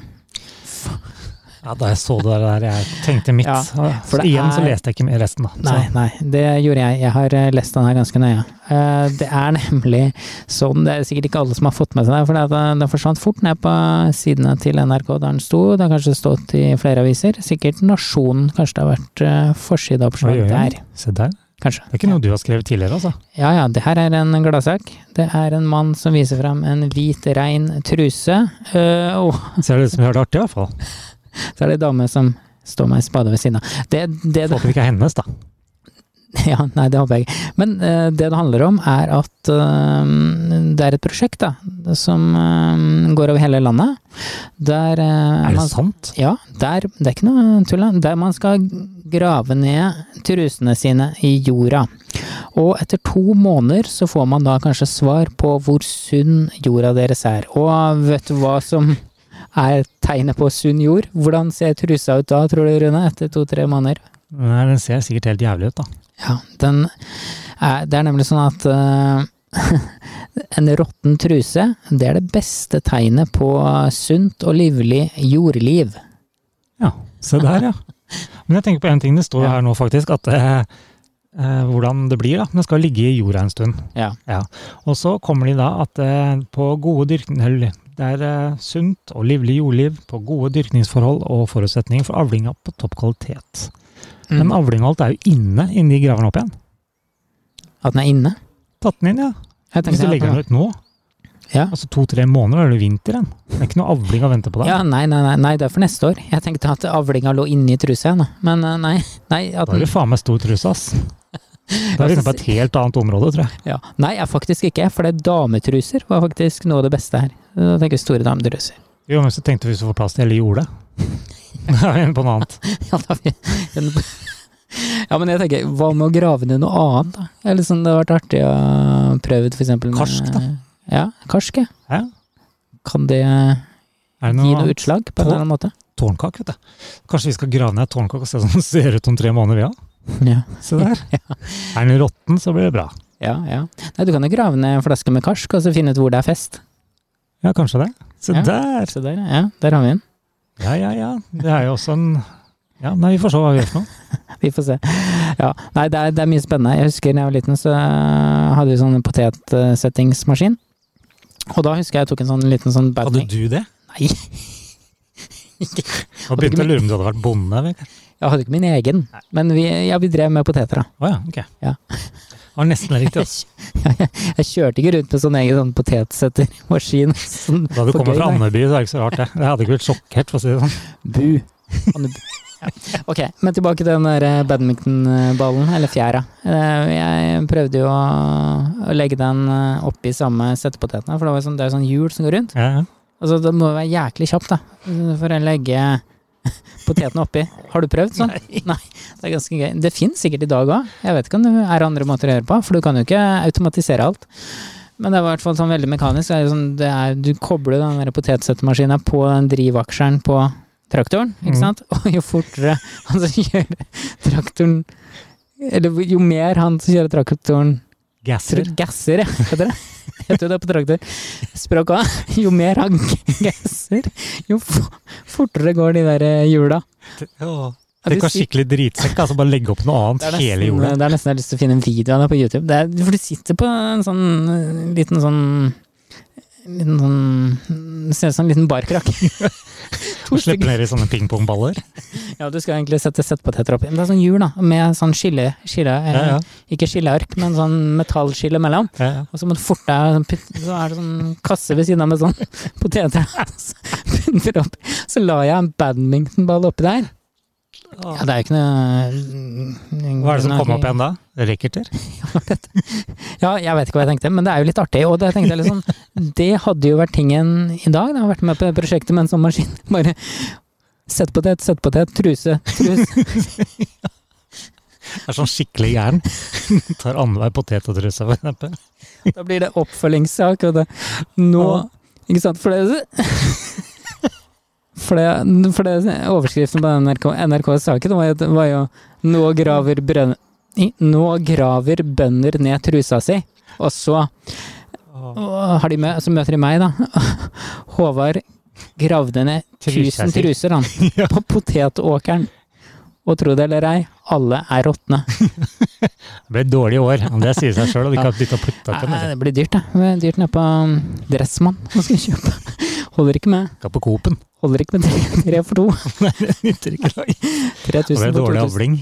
Speaker 4: Ja, da jeg så det der, jeg tenkte mitt.
Speaker 3: Ja, for
Speaker 4: så
Speaker 3: det
Speaker 4: igjen så
Speaker 3: er-
Speaker 4: leste jeg ikke mer resten, da. Så-
Speaker 3: Nei, nei, det gjorde jeg. Jeg har eh, lest den her ganske nøye. Eh, Det er nemlig sånn, det er sikkert ikke alle som har fått med seg det, for det at eh, den- den forsvant fort ned på sidene til NRK der den sto. Det har kanskje stått i flere aviser. Sikkert Nasjonen, kanskje det har vært eh,
Speaker 4: Oi,
Speaker 3: forsideoppslag
Speaker 4: oi, oi.
Speaker 3: der.
Speaker 4: Se der. Det
Speaker 3: Kanskje.
Speaker 4: er ikke noe du har skrevet tidligere, altså.
Speaker 3: Ja ja, det her er en gladsak. Det er en mann som viser fram en hvit, rein truse. eh, Og
Speaker 4: Ser det ut som vi har det artig, i hvert fall.
Speaker 3: så er det ei dame som står med ei spade ved siden av. Det, det,
Speaker 4: Håper det ikke er hennes, da.
Speaker 3: Ja, nei, det håper jeg ikke. Men eh, det det handler om, er at eh, det er et prosjekt da, som eh, går over hele landet. Der, eh,
Speaker 4: Er det
Speaker 3: man,
Speaker 4: sant?
Speaker 3: Ja, der, det er ikke noe tull. da. Der man skal grave ned trusene sine i jorda. Og etter to måneder så får man da kanskje svar på hvor sunn jorda deres er. Og vet du hva som er tegnet på sunn jord? Hvordan ser trusa ut da, tror du, Rune? Etter to-tre måneder?
Speaker 4: Nei, den ser sikkert helt jævlig ut, da.
Speaker 3: Ja, den er, det er nemlig sånn at eh, en råtten truse, det er det beste tegnet på sunt og livlig jordliv.
Speaker 4: Ja, se der, ja. Men jeg tenker på en ting, det står jo her nå faktisk, at eh, eh, hvordan det blir da, den skal ligge i jorda en stund.
Speaker 3: Ja.
Speaker 4: Og så kommer de da at eh, på gode dyrkning, eller det er eh, sunt og livlig jordliv, på gode dyrkningsforhold og forutsetninger for avlinga på topp kvalitet.
Speaker 3: Mm.
Speaker 4: Men avling og alt er jo inne, innen de graver den opp igjen.
Speaker 3: At den er inne.
Speaker 4: Tatt den inn, ja.
Speaker 3: Jeg
Speaker 4: Hvis du
Speaker 3: at
Speaker 4: legger den ut nå,
Speaker 3: Ja.
Speaker 4: altså to-tre måneder, er det vinteren. Det er ikke noe avling å vente på da.
Speaker 3: Ja, nei, nei, nei, nei, det er for neste år. Jeg tenkte at avlinga lå inni trusa, jeg, nå. men eh, nei. nei at
Speaker 4: Da er
Speaker 3: den,
Speaker 4: det faen meg stor truss, ass. Da er vi inne på et helt annet område, tror jeg.
Speaker 3: ja. Nei, jeg faktisk ikke, for det er dametruser var faktisk noe av det beste her. Da tenker jeg store dametruser.
Speaker 4: Jo, men så tenkte vi skulle få plass til hele jorda. Da er vi inne på noe annet.
Speaker 3: Ja, da, vi- ja, men jeg tenker, hva med å grave ned noe annet, da? Det, er litt sånn, det har vært artig å prøve ut for eksempel med-
Speaker 4: Karsk, da.
Speaker 3: Ja, karsk, ja.
Speaker 4: Ja.
Speaker 3: Kan det
Speaker 4: Er det
Speaker 3: gi noe
Speaker 4: noe
Speaker 3: utslag på en
Speaker 4: Tå-
Speaker 3: eller annen måte?
Speaker 4: tårnkake, vet du. Kanskje vi skal grave ned et tårnkake og se hvordan den ser ut om tre måneder, vi òg.
Speaker 3: Ja.
Speaker 4: Se der. Er den råtten, så blir det bra.
Speaker 3: ja, ja. Nei, du kan jo grave ned en flaske med karsk, og så finne ut hvor det er fest.
Speaker 4: Ja, kanskje det. Se
Speaker 3: Ja.
Speaker 4: der!
Speaker 3: Så der, ja, der har vi den.
Speaker 4: Ja, ja, ja. Det er jo også en Ja, nei, vi får se hva vi gjør for noe.
Speaker 3: Vi får se. Ja. Nei, det er, det er mye spennende. Jeg husker da jeg var liten, så hadde vi sånn potetsettingsmaskin. Og da husker jeg jeg tok en sånn liten sånn batting.
Speaker 4: du det?
Speaker 3: Nei,
Speaker 4: Nå begynte jeg å lure om du hadde vært bonde. Vegard.
Speaker 3: jeg hadde ikke min egen, men vi, ja, vi drev med poteter, da.
Speaker 4: Å ja, ok.
Speaker 3: Ja.
Speaker 4: Det var nesten riktig. altså. ass.
Speaker 3: Jeg kjørte ikke rundt med sånn egen sånn potetsettermaskin. Sånn,
Speaker 4: Da du
Speaker 3: for
Speaker 4: kommer
Speaker 3: gøy,
Speaker 4: fra
Speaker 3: nei.
Speaker 4: Andeby, så er det ikke så rart, det. Jeg hadde ikke blitt sjokkert, for å si det sånn.
Speaker 3: Bu. Anne Bu. Ja. Ok, men tilbake til den der eh, badmintonballen, eller fjæra. Eh, Jeg prøvde jo å å legge den eh, oppi samme settepotetene, for det, var sånn, det er sånn hjul som går rundt.
Speaker 4: Ja, ja.
Speaker 3: Altså, det må være jæklig kjapt, da, for å legge potetene oppi. Har du prøvd sånn? Nei. Det er ganske gøy. Det fins sikkert i dag òg. Jeg vet ikke om det er andre måter å gjøre på, for du kan jo ikke automatisere alt. Men det var i hvert fall sånn veldig mekanisk. Det er jo sånn, det er, du kobler den der potetsettemaskina på den drivaksjeren på traktoren, ikke
Speaker 4: Mm.
Speaker 3: sant? Og jo fortere han som kjører traktoren Eller jo mer han som kjører traktoren
Speaker 4: Gasser.
Speaker 3: Tr- Gasser, ja. Heter det? Heter det på traktor. Språket også. Jo mer han g- gasser, jo f fortere går de der eh, hjula.
Speaker 4: Åh.
Speaker 3: Er
Speaker 4: Tenk
Speaker 3: du
Speaker 4: å ha
Speaker 3: syk?
Speaker 4: skikkelig dritsekk, altså bare legge opp noe
Speaker 3: Det er
Speaker 4: annet hele
Speaker 3: nesten-
Speaker 4: jorda.
Speaker 3: Det er nesten jeg har lyst til å finne en video av det på YouTube. Det er, for du sitter på en sånn eh, liten sånn Liten sånn det Ser ut som en liten barkrakk. to
Speaker 4: Og slippe
Speaker 3: stykker.
Speaker 4: ned i sånne pingpongballer.
Speaker 3: Ja, du skal egentlig sette settpoteter oppi. Men det er sånn hjul, da. Med sånn skille... skille eh,
Speaker 4: Ja, ja.
Speaker 3: Ikke skilleark, men sånn metallskille mellom.
Speaker 4: ja, ja.
Speaker 3: Og så må du forte deg sånn putt- Så er det sånn kasse ved siden av med sånn poteter. Så putter opp. Så la jeg en badmintonball oppi der. Ja, det er jo ikke noe
Speaker 4: Hva er det som kom opp igjen da? Racketer?
Speaker 3: Ja, jeg vet ikke hva jeg tenkte, men det er jo litt artig. Og det tenkte jeg litt sånn Det hadde jo vært tingen i dag. Da. Jeg har vært med på det prosjektet med en sånn maskin. Bare sett potet, sett potet, truse, truse.
Speaker 4: Det er sånn skikkelig jern. Tar annenhver potet og truse, for eksempel.
Speaker 3: Da blir det oppfølgingssak. Og det Nå Ikke sant? For det For det, for det overskriften på NRK, NRKs saken var jo, var jo nå, graver brønn, i- 'Nå graver bønder ned trusa si'. Og så og har de mø, så møter de meg, da. Håvard gravde ned
Speaker 4: Trusa
Speaker 3: 1000
Speaker 4: si.
Speaker 3: truser han, på potetåkeren. Og tro det eller ei, alle er råtne.
Speaker 4: Det ble dårlig i år, men det sier seg sjøl. Og de kan bytte og putte opp
Speaker 3: Nei,
Speaker 4: igjen.
Speaker 3: Det blir dyrt, da. Det er Dyrt nede på um, Dressmann. Hva skal vi kjøpe? Holder ikke med.
Speaker 4: Skal på Coop-en.
Speaker 3: Holder ikke med tre, tre for to.
Speaker 4: Nei, det nytter ikke. Det
Speaker 3: 3000
Speaker 4: ble
Speaker 3: for
Speaker 4: dårlig
Speaker 3: 2000.
Speaker 4: avling.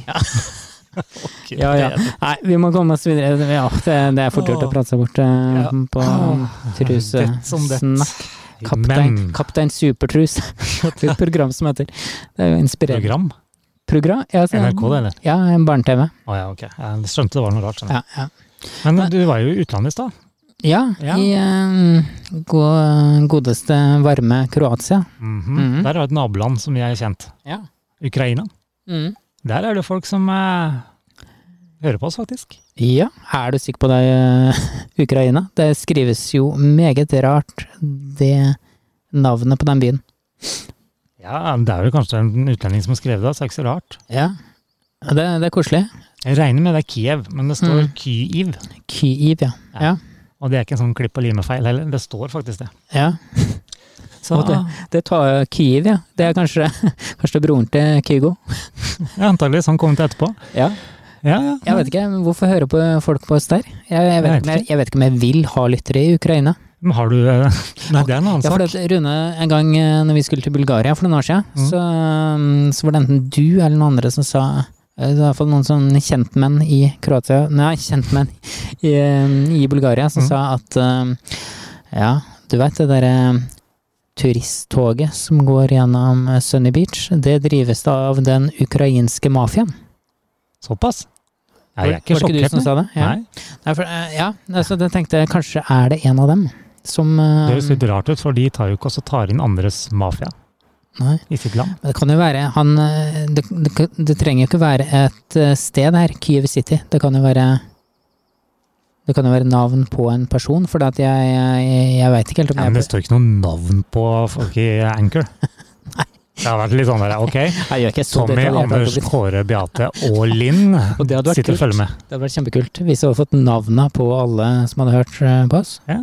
Speaker 3: Ja, ja. Nei, vi må komme oss videre. Ja, det, det er for dyrt å prate seg bort eh,
Speaker 4: Ja.
Speaker 3: på
Speaker 4: Dett som dett.
Speaker 3: trusesnakk. Kaptein,
Speaker 4: Men
Speaker 3: Kaptein Supertrus. Det er et program som heter Det er jo inspirerende.
Speaker 4: program?
Speaker 3: Program? Ja, så-
Speaker 4: NRK, det, eller?
Speaker 3: Ja, en barne-TV.
Speaker 4: Å ja, ok. Jeg skjønte det var noe rart. skjønner
Speaker 3: Ja, ja.
Speaker 4: jeg. Men du var jo i utlandet i stad.
Speaker 3: ja,
Speaker 4: Ja.
Speaker 3: i eh, go- godeste, varme Kroatia.
Speaker 4: Mhm.
Speaker 3: Mhm.
Speaker 4: Der er et naboland som jeg er kjent.
Speaker 3: Ja.
Speaker 4: Ukraina.
Speaker 3: Mm.
Speaker 4: Der er det folk som eh, hører på oss, faktisk.
Speaker 3: Ja, er du sikker på det, eh, Ukraina? Det skrives jo meget rart, det navnet på den byen.
Speaker 4: Ja, Det er vel kanskje en utlending som har skrevet det, så det er ikke så rart.
Speaker 3: Ja, Ja, det, det er koselig.
Speaker 4: Jeg regner med det er Kiev, men det står
Speaker 3: Mm.
Speaker 4: Kyiv.
Speaker 3: Kyiv, ja.
Speaker 4: Ja. Og det er ikke en sånn klipp og lim-feil heller, det står faktisk det.
Speaker 3: ja.
Speaker 4: Så
Speaker 3: Og
Speaker 4: det,
Speaker 3: Det tar eh, Kyiv, ja. Det er kanskje, kanskje broren til Kygo.
Speaker 4: ja, antageligvis han kommer til etterpå.
Speaker 3: Ja.
Speaker 4: Ja, ja.
Speaker 3: Jeg vet ikke, men hvorfor hører på folk på oss der? Jeg, jeg, vet,
Speaker 4: vet
Speaker 3: ikke om jeg, jeg vet ikke om jeg vil ha lyttere i Ukraina.
Speaker 4: Men har du eh, Nei, det er en annen
Speaker 3: Ja, for
Speaker 4: sak.
Speaker 3: det, Rune, en gang eh, når vi skulle til Bulgaria for noen år siden,
Speaker 4: Mm.
Speaker 3: så, um, så var det enten du eller noen andre som sa eh, det var i hvert fall noen sånn kjentmenn i Kroatia Nei, kjentmenn i, eh, i Bulgaria som
Speaker 4: Mm.
Speaker 3: sa at um, Ja, du vet det derre turisttoget som går gjennom eh, Sunny Beach, det drives da av den ukrainske mafiaen.
Speaker 4: Såpass? Nei, jeg er ikke
Speaker 3: Var det du
Speaker 4: sjokkert.
Speaker 3: som sa det?
Speaker 4: nei.
Speaker 3: Ja.
Speaker 4: Nei,
Speaker 3: Nei, for, eh, ja, altså, da tenkte jeg kanskje er det en av dem som
Speaker 4: Det
Speaker 3: eh,
Speaker 4: høres litt rart ut, for de tar jo ikke også tar inn andres mafia.
Speaker 3: Nei.
Speaker 4: i sitt land.
Speaker 3: Men det kan jo være han eh, Det, det, kan- det trenger jo ikke være et eh, sted her, Kyiv City. Det kan jo være Det kan jo være navn på en person, for at jeg, jeg, jeg veit ikke helt om
Speaker 4: Ja,
Speaker 3: jeg
Speaker 4: men det står ikke noe navn på folk i Anchor. Det har vært litt sånn der, ok,
Speaker 3: Jeg gjør ikke så
Speaker 4: Tommy,
Speaker 3: detaljert, jeg
Speaker 4: Anders,
Speaker 3: vet ikke.
Speaker 4: Kåre, Beate og Linn
Speaker 3: Og det hadde vært
Speaker 4: sitter og
Speaker 3: kult.
Speaker 4: følger med.
Speaker 3: Det hadde vært kjempekult hvis vi hadde fått navna på alle som hadde hørt eh, på oss.
Speaker 4: Ja.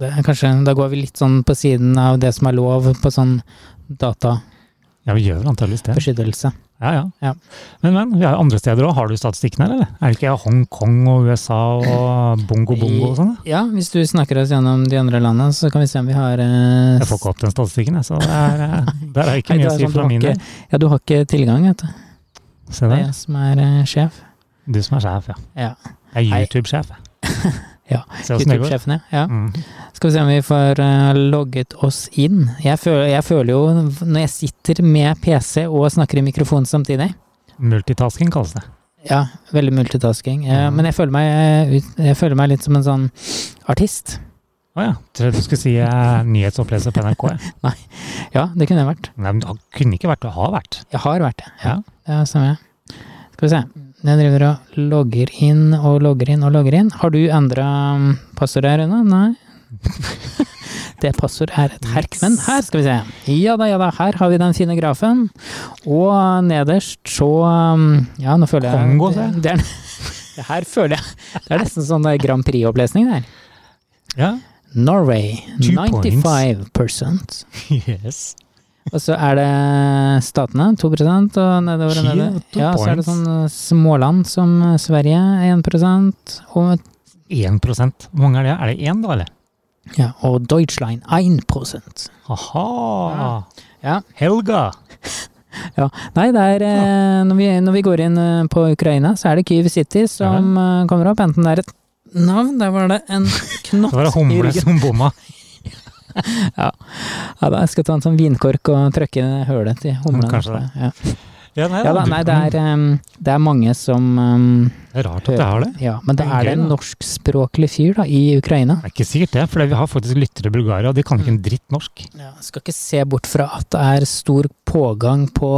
Speaker 3: Det er kanskje, da går vi litt sånn på siden av det som er lov på sånn databeskyttelse.
Speaker 4: Ja, vi gjør vel antageligvis det. Ja, ja.
Speaker 3: Ja.
Speaker 4: Men, men, vi har jo andre steder òg. Har du statistikken her, eller? Er det ikke Hongkong og USA og bongo bongo og sånn? da?
Speaker 3: Ja, hvis du snakker oss gjennom de andre landene, så kan vi se om vi har eh,
Speaker 4: Jeg får ikke opp den statistikken, jeg, så det er, eh, der er ikke
Speaker 3: Nei, det
Speaker 4: mye å
Speaker 3: er
Speaker 4: si
Speaker 3: sånn, du
Speaker 4: fra
Speaker 3: har
Speaker 4: min del.
Speaker 3: ikke- Ja, du har ikke tilgang, vet du.
Speaker 4: Se
Speaker 3: Det er
Speaker 4: der.
Speaker 3: jeg som er eh, sjef.
Speaker 4: Du som er sjef, ja.
Speaker 3: Ja.
Speaker 4: Jeg
Speaker 3: Hei.
Speaker 4: er YouTube-sjef. jeg.
Speaker 3: Ja,
Speaker 4: Se åssen sånn det går.
Speaker 3: YouTube-sjefen, ja. ja.
Speaker 4: Mm.
Speaker 3: Skal vi se om vi får eh, logget oss inn. Jeg føler, jeg føler jo, når jeg sitter med PC og snakker i mikrofon samtidig
Speaker 4: Multitasking kalles det.
Speaker 3: Ja, veldig multitasking. eh,
Speaker 4: Mhm.
Speaker 3: Men jeg føler, meg, eh, ut- jeg føler meg litt som en sånn artist.
Speaker 4: Å ja. Trodde du skulle si eh, nyhetsoppleser på NRK. jeg.
Speaker 3: Ja, det kunne jeg vært.
Speaker 4: Nei, men det kunne ikke vært det har vært.
Speaker 3: Jeg har vært det.
Speaker 4: Ja.
Speaker 3: Det er samme. Skal vi se. Jeg driver og logger inn og logger inn og logger inn. Har du endra passord her ennå? Nei. Det passord er et herk. Men her skal vi se. Ja da, ja da. Her har vi den fine grafen. Og nederst så um, Ja, nå føler jeg
Speaker 4: Kongo, ser jeg.
Speaker 3: det, er- det her føler jeg Det er nesten sånn der Grand Prix-opplesning der.
Speaker 4: Ja.
Speaker 3: Norway,
Speaker 4: Two
Speaker 3: 95
Speaker 4: Yes.
Speaker 3: og så er det statene, 2 og nedover og
Speaker 4: Kiev,
Speaker 3: nedover.
Speaker 4: to
Speaker 3: Ja, så er det
Speaker 4: points.
Speaker 3: sånn eh, småland som eh, Sverige, 1 og,
Speaker 4: 1 Hvor mange er det? Er det én, da, eller?
Speaker 3: ja, og Deutschland, 1
Speaker 4: Aha.
Speaker 3: Ja.
Speaker 4: Helga.
Speaker 3: Nei, det er eh, når vi, når vi går inn eh, på Ukraina, så er det Kyiv City som eh, kommer opp. Enten det er et navn, der var det en
Speaker 4: Det var
Speaker 3: knott
Speaker 4: det
Speaker 3: i
Speaker 4: humle
Speaker 3: ryggen.
Speaker 4: som bomma.
Speaker 3: Ja, da skal jeg ta en sånn vinkork og trykke hølet til humlen.
Speaker 4: Kanskje det.
Speaker 3: Ja.
Speaker 4: Ja, nei,
Speaker 3: ja da,
Speaker 4: du-
Speaker 3: nei, det er, eh, det er mange som eh,
Speaker 4: Det er rart at det er det.
Speaker 3: Ja, men da
Speaker 4: Det er
Speaker 3: er det
Speaker 4: gøy,
Speaker 3: en
Speaker 4: da.
Speaker 3: norskspråklig fyr da, i Ukraina.
Speaker 4: Det er ikke sikkert det, for vi har faktisk lyttere i Bulgaria, og de kan ikke en dritt norsk.
Speaker 3: Ja, skal ikke se bort fra at det er stor pågang på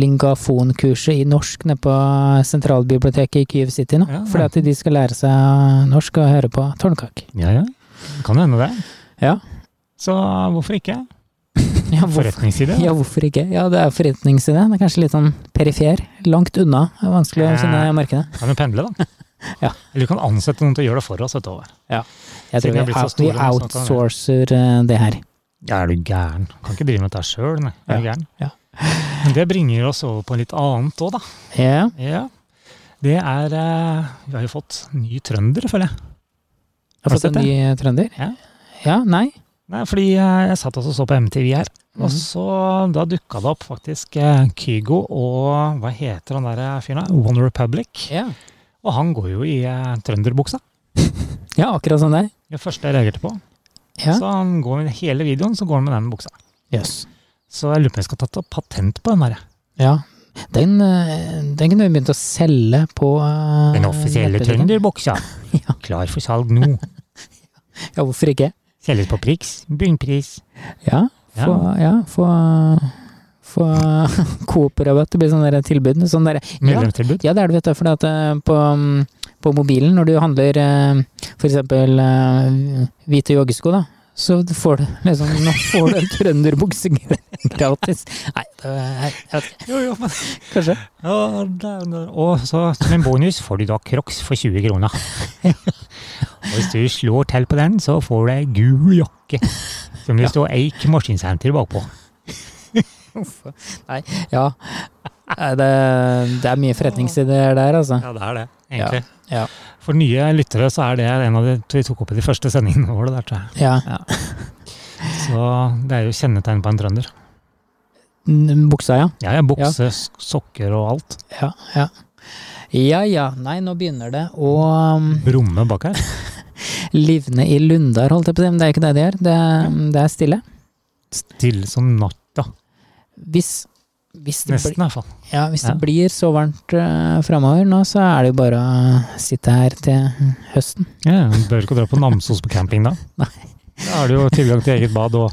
Speaker 3: lingafonkurset i norsk nede på sentralbiblioteket i Kyiv City nå.
Speaker 4: Ja.
Speaker 3: Fordi at de skal lære seg norsk og høre på Tårnkak.
Speaker 4: Ja, ja. Kan hende det.
Speaker 3: Ja.
Speaker 4: Så hvorfor ikke?
Speaker 3: Ja, hvorfor,
Speaker 4: Forretningsside.
Speaker 3: ja, hvorfor ikke? Ja, det er forretningsidé. Det er kanskje litt sånn perifer. Langt unna. Det er vanskelig å finne
Speaker 4: Ja.
Speaker 3: markedet.
Speaker 4: Kan vi pendle, da?
Speaker 3: Ja.
Speaker 4: Eller du kan ansette noen til å gjøre det for oss et år.
Speaker 3: Jeg
Speaker 4: Siden
Speaker 3: tror
Speaker 4: vi
Speaker 3: vi,
Speaker 4: har blitt så
Speaker 3: vi
Speaker 4: store sånn nå, så kan vi-
Speaker 3: outsourcer eh, det her.
Speaker 4: Ja, er du gæren? Kan ikke drive med dette sjøl, nei. Er du gæren?
Speaker 3: Ja.
Speaker 4: Men det bringer oss over på litt annet òg, da.
Speaker 3: Ja.
Speaker 4: Ja. Det er eh, Vi har jo fått ny trønder, føler jeg.
Speaker 3: Har
Speaker 4: Har
Speaker 3: fått
Speaker 4: du
Speaker 3: en
Speaker 4: sett
Speaker 3: ny eh, trønder?
Speaker 4: Ja.
Speaker 3: Ja, nei?
Speaker 4: Nei, fordi eh, jeg satt også og så på MTV her,
Speaker 3: Mhm.
Speaker 4: og så da dukka det opp faktisk eh, Kygo og hva heter han der eh, fyren da? One Republic.
Speaker 3: Ja.
Speaker 4: Og han går jo i eh, trønderbuksa.
Speaker 3: ja, akkurat som deg.
Speaker 4: Det første jeg reagerte på.
Speaker 3: Ja.
Speaker 4: Så han går med hele videoen så går han med den buksa.
Speaker 3: Yes.
Speaker 4: Så jeg lurer på om jeg skal ta ta patent på den der. jeg.
Speaker 3: Ja. Den, eh, den kunne vi begynt å selge på eh,
Speaker 4: Den offisielle
Speaker 3: nettbutikken.
Speaker 4: trønderbuksa. Klar for salg nå.
Speaker 3: Ja, hvorfor ikke?
Speaker 4: Selges på priks. Bunnpris.
Speaker 3: Ja, få, ja. få, få Coop-rabatt. Det blir sånn der tilbud. Sånn der, ja,
Speaker 4: Medlemstilbud.
Speaker 3: ja, det er det, vet du. For at eh, på, mm, på mobilen, når du handler eh, for eksempel eh, hvite joggesko, da, så får du liksom Nå får du en trønderbukse gratis. Nei, det er, jeg vet ikke.
Speaker 4: Jo, jo, men
Speaker 3: Kanskje.
Speaker 4: Ja, det- det- Og så som en bonus får du da Crocs for 20 kroner. Og hvis du slår til på den, så får du ei gul jakke som det står Eik maskinsenter bakpå.
Speaker 3: Nei, ja. Nei, Det, det er mye forretningsideer der, altså.
Speaker 4: Ja, det er det,
Speaker 3: egentlig. Ja, ja.
Speaker 4: For nye lyttere så er det en av de vi tok opp i de første sendingene våre. Der, tror jeg.
Speaker 3: Ja.
Speaker 4: Så det er jo kjennetegn på en trønder.
Speaker 3: N- Mm, Buksa, ja.
Speaker 4: Ja, ja, bukse, s- sokker og alt.
Speaker 3: Ja, ja. Ja ja, nei, nå begynner det å um,
Speaker 4: Brumme bak her.
Speaker 3: livne i Lundar, holdt jeg på å si. Men det er jo ikke det det gjør. Det, det er stille.
Speaker 4: Stille som natta.
Speaker 3: Hvis, hvis, det,
Speaker 4: Nesten, i
Speaker 3: blir,
Speaker 4: hvert fall.
Speaker 3: ja, hvis det
Speaker 4: Ja.
Speaker 3: blir så varmt uh, framover nå, så er det jo bare å sitte her til høsten.
Speaker 4: Ja, ja, Bør ikke dra på Namsos på camping, da.
Speaker 3: Nei.
Speaker 4: Da har du jo tilgang til eget bad og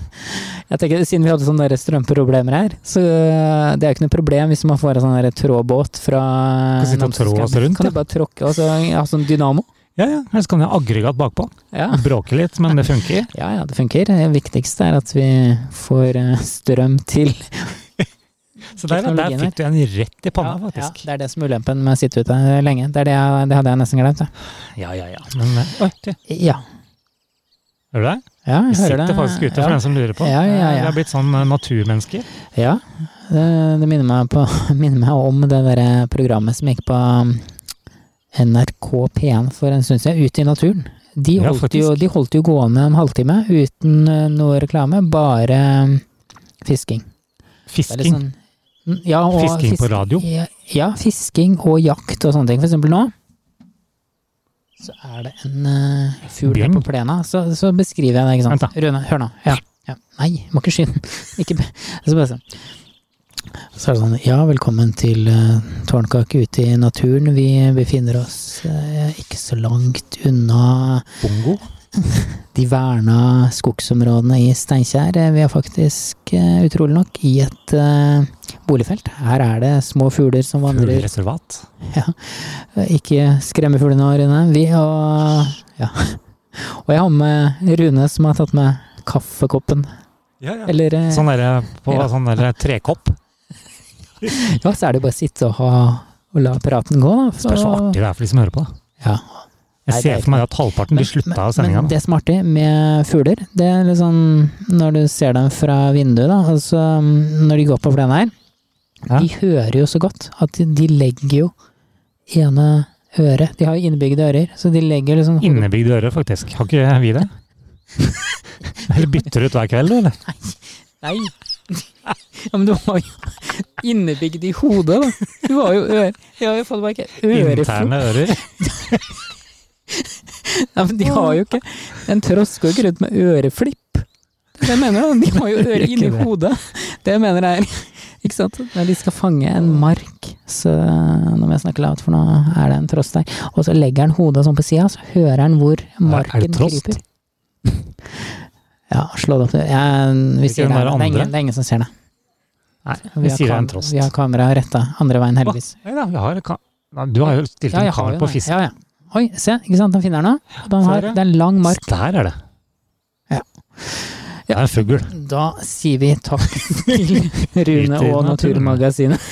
Speaker 3: Jeg tenker, Siden vi hadde sånne der strømproblemer her, så eh, det er jo ikke noe problem hvis man får en sånn der trådbåt fra
Speaker 4: Kan sitte og
Speaker 3: Namsos
Speaker 4: trå oss
Speaker 3: camping.
Speaker 4: rundt,
Speaker 3: Kan
Speaker 4: da.
Speaker 3: du bare tråkke og så ha sånn dynamo?
Speaker 4: Ja, ja. Ellers kan jeg ha aggregat bakpå.
Speaker 3: Ja.
Speaker 4: Bråke litt, men det funker.
Speaker 3: ja ja, det funker. Det viktigste er at vi får eh, strøm til
Speaker 4: Så der, der
Speaker 3: Teknologien
Speaker 4: fikk du en rett i panna,
Speaker 3: Ja, ja,
Speaker 4: faktisk.
Speaker 3: det er det som er ulempen med å sitte ute lenge. Det, er det, jeg, det hadde jeg nesten glemt. jeg.
Speaker 4: Ja, ja, ja. Men eh, oi, du,
Speaker 3: Ja.
Speaker 4: hører du det?
Speaker 3: ja jeg
Speaker 4: Vi
Speaker 3: hører
Speaker 4: sitter
Speaker 3: det.
Speaker 4: faktisk
Speaker 3: ja.
Speaker 4: ute, for den som lurer på.
Speaker 3: Ja, ja,
Speaker 4: Eh,
Speaker 3: ja.
Speaker 4: Vi har blitt sånn eh, naturmennesker.
Speaker 3: Ja, det, det minner, meg på, minner meg om det der programmet som gikk på um, NRK P1 for en stund siden, Ute i naturen. De
Speaker 4: Ja,
Speaker 3: holdt, jo,
Speaker 4: faktisk.
Speaker 3: de holdt jo gående en halvtime uten uh, noe reklame, bare um, fisking. Det er litt
Speaker 4: Fisking.
Speaker 3: sånn- Mm, ja, og
Speaker 4: Fisking på radio.
Speaker 3: Ja, ja, fisking og jakt og sånne ting. For eksempel nå så er det en uh, fugl her
Speaker 4: Bjørn?
Speaker 3: på plena. Så, så beskriver jeg det, ikke sant.
Speaker 4: Vent
Speaker 3: Rune, hør nå. Ja. ja. Nei, må ikke skyte den. Ikke be. Så, bare sånn. så er det sånn Ja, velkommen til uh, Tårnkake ute i naturen. Vi befinner oss eh, ikke så langt unna
Speaker 4: Bongo.
Speaker 3: de verna skogsområdene i Steinkjer. Eh, Vi er faktisk, eh, utrolig nok, i et eh, boligfelt. Her er det små fugler som vandrer.
Speaker 4: Fuglereservat.
Speaker 3: Eh, Ikke skremme fuglene, Rune. Vi og Ja. Og jeg har med Rune, som har tatt med kaffekoppen.
Speaker 4: Ja, ja.
Speaker 3: Eller eh,
Speaker 4: Sånn derre på
Speaker 3: Ja.
Speaker 4: sånn derre trekopp.
Speaker 3: Ja, så er det jo bare å sitte og, ha, og la praten gå, da.
Speaker 4: Det er så artig det er for de som hører på, da.
Speaker 3: Ja. Nei,
Speaker 4: Jeg
Speaker 3: det er
Speaker 4: ser for meg at halvparten blir slutta av sendinga.
Speaker 3: men det som er artig med fugler, det er litt sånn når du ser dem fra vinduet, da, altså mm, når de går på plenen her,
Speaker 4: Ja.
Speaker 3: de hører jo så godt at de, de legger jo ene øret De har jo innebygde ører, så de legger liksom
Speaker 4: Innebygde ører, faktisk. Har ikke vi det? Eller bytter du ut hver kveld, du, eller?
Speaker 3: Nei! Ja, men du har jo innebygd i hodet, da. Du har jo øre... Jeg har jo fått bare ikke ørefugl.
Speaker 4: Interne ører.
Speaker 3: Nei, men de har jo ikke En tross går ikke rundt med øreflipp. Det er det jeg mener jeg, de har jo
Speaker 4: Gjør
Speaker 3: øret inni
Speaker 4: ikke det.
Speaker 3: hodet. Det jeg mener jeg er Ikke sant? Når de skal fange en mark, så Nå må jeg snakke lavt, for nå er det en tross der. Og så legger han hodet sånn på sida, så hører han hvor
Speaker 4: Er
Speaker 3: marken
Speaker 4: det trost?
Speaker 3: kryper. Ja, slå det opp. Jeg, vi
Speaker 4: Ikke
Speaker 3: sier det, er
Speaker 4: den der
Speaker 3: det, er
Speaker 4: andre?
Speaker 3: ingen, det er ingen som ser det.
Speaker 4: Nei,
Speaker 3: Vi
Speaker 4: vi
Speaker 3: har
Speaker 4: sier det er en
Speaker 3: kam-
Speaker 4: trost.
Speaker 3: Vi har kameraet retta andre veien, heldigvis.
Speaker 4: Nei da, vi har ka- Nei, Du har jo stilt en
Speaker 3: jeg har
Speaker 4: kamera
Speaker 3: jo
Speaker 4: på
Speaker 3: det.
Speaker 4: fisk.
Speaker 3: Ja, ja. Oi, se, ikke sant, den finner den nå. Den
Speaker 4: ser
Speaker 3: har,
Speaker 4: jeg.
Speaker 3: det er en lang mark.
Speaker 4: Der er det.
Speaker 3: Ja.
Speaker 4: Det er en fugl.
Speaker 3: Da sier vi takk til Rune
Speaker 4: Ut i
Speaker 3: og
Speaker 4: naturen.
Speaker 3: Naturmagasinet.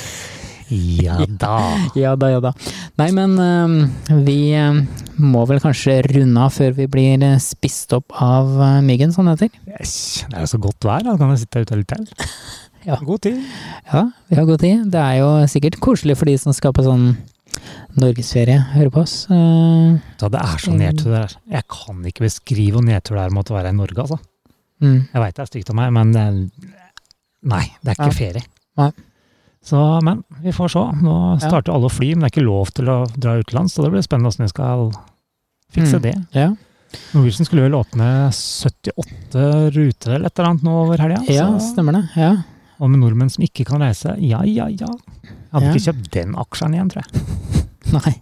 Speaker 4: Ja da.
Speaker 3: Ja da, ja da. Nei, men øhm, vi øhm, må vel kanskje runde av før vi blir øh, spist opp av øh, myggen, som det heter.
Speaker 4: Yes. Det er jo så godt vær, da kan jeg sitte ute litt til.
Speaker 3: Ja.
Speaker 4: God tid.
Speaker 3: Ja, vi har god tid. Det er jo sikkert koselig for de som skal på sånn norgesferie, høre på oss. Øh,
Speaker 4: Da, det er så nedtur
Speaker 3: Mm.
Speaker 4: det der. Jeg kan ikke beskrive hvor nedtur det er med å være i Norge, altså.
Speaker 3: mm.
Speaker 4: Jeg veit det er stygt av meg, men eh, nei, det er ikke
Speaker 3: Ja.
Speaker 4: ferie.
Speaker 3: Nei.
Speaker 4: Så, men vi får se. Nå starter alle å fly, men det er ikke lov til å dra utenlands, så det blir spennende åssen vi skal fikse
Speaker 3: Mm.
Speaker 4: det.
Speaker 3: Ja.
Speaker 4: Norwegian skulle vel åpne 78 ruter eller et eller annet nå over helga.
Speaker 3: ja, stemmer det. Ja.
Speaker 4: Og med nordmenn som ikke kan reise, ja ja ja. Jeg hadde
Speaker 3: Ja.
Speaker 4: ikke kjøpt den aksjen igjen, tror jeg.
Speaker 3: Nei,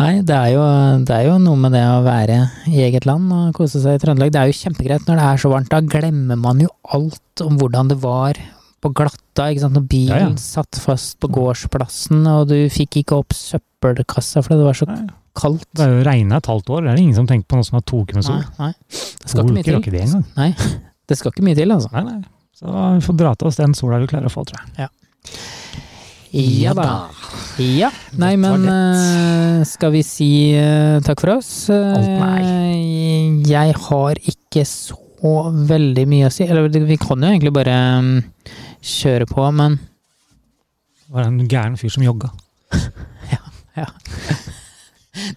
Speaker 3: Nei det, er jo, det er jo noe med det å være i eget land og kose seg i Trøndelag. Det er jo kjempegreit når det er så varmt. Da glemmer man jo alt om hvordan det var på Glatta. ikke sant? Når bilen
Speaker 4: Ja, ja.
Speaker 3: satt fast på gårdsplassen, og du fikk ikke opp søppelkassa fordi det var så
Speaker 4: Nei. Det
Speaker 3: kaldt.
Speaker 4: har jo regna et halvt år, det er det ingen som tenker på noe som har to uker med sol.
Speaker 3: Nei, nei. Det
Speaker 4: To
Speaker 3: skal ikke
Speaker 4: uker
Speaker 3: mye til.
Speaker 4: har ikke det engang.
Speaker 3: Det skal ikke mye til, altså.
Speaker 4: Nei, nei. Så vi får dra til oss den sola vi klarer å få, tror jeg.
Speaker 3: Ja da. Ja. Nei,
Speaker 4: Dette var
Speaker 3: men eh, skal vi si eh, takk for oss? Eh,
Speaker 4: Alt
Speaker 3: Jeg har ikke så veldig mye å si. Eller det- vi kan jo egentlig bare mm, kjøre på, men
Speaker 4: var en gæren fyr som jogga.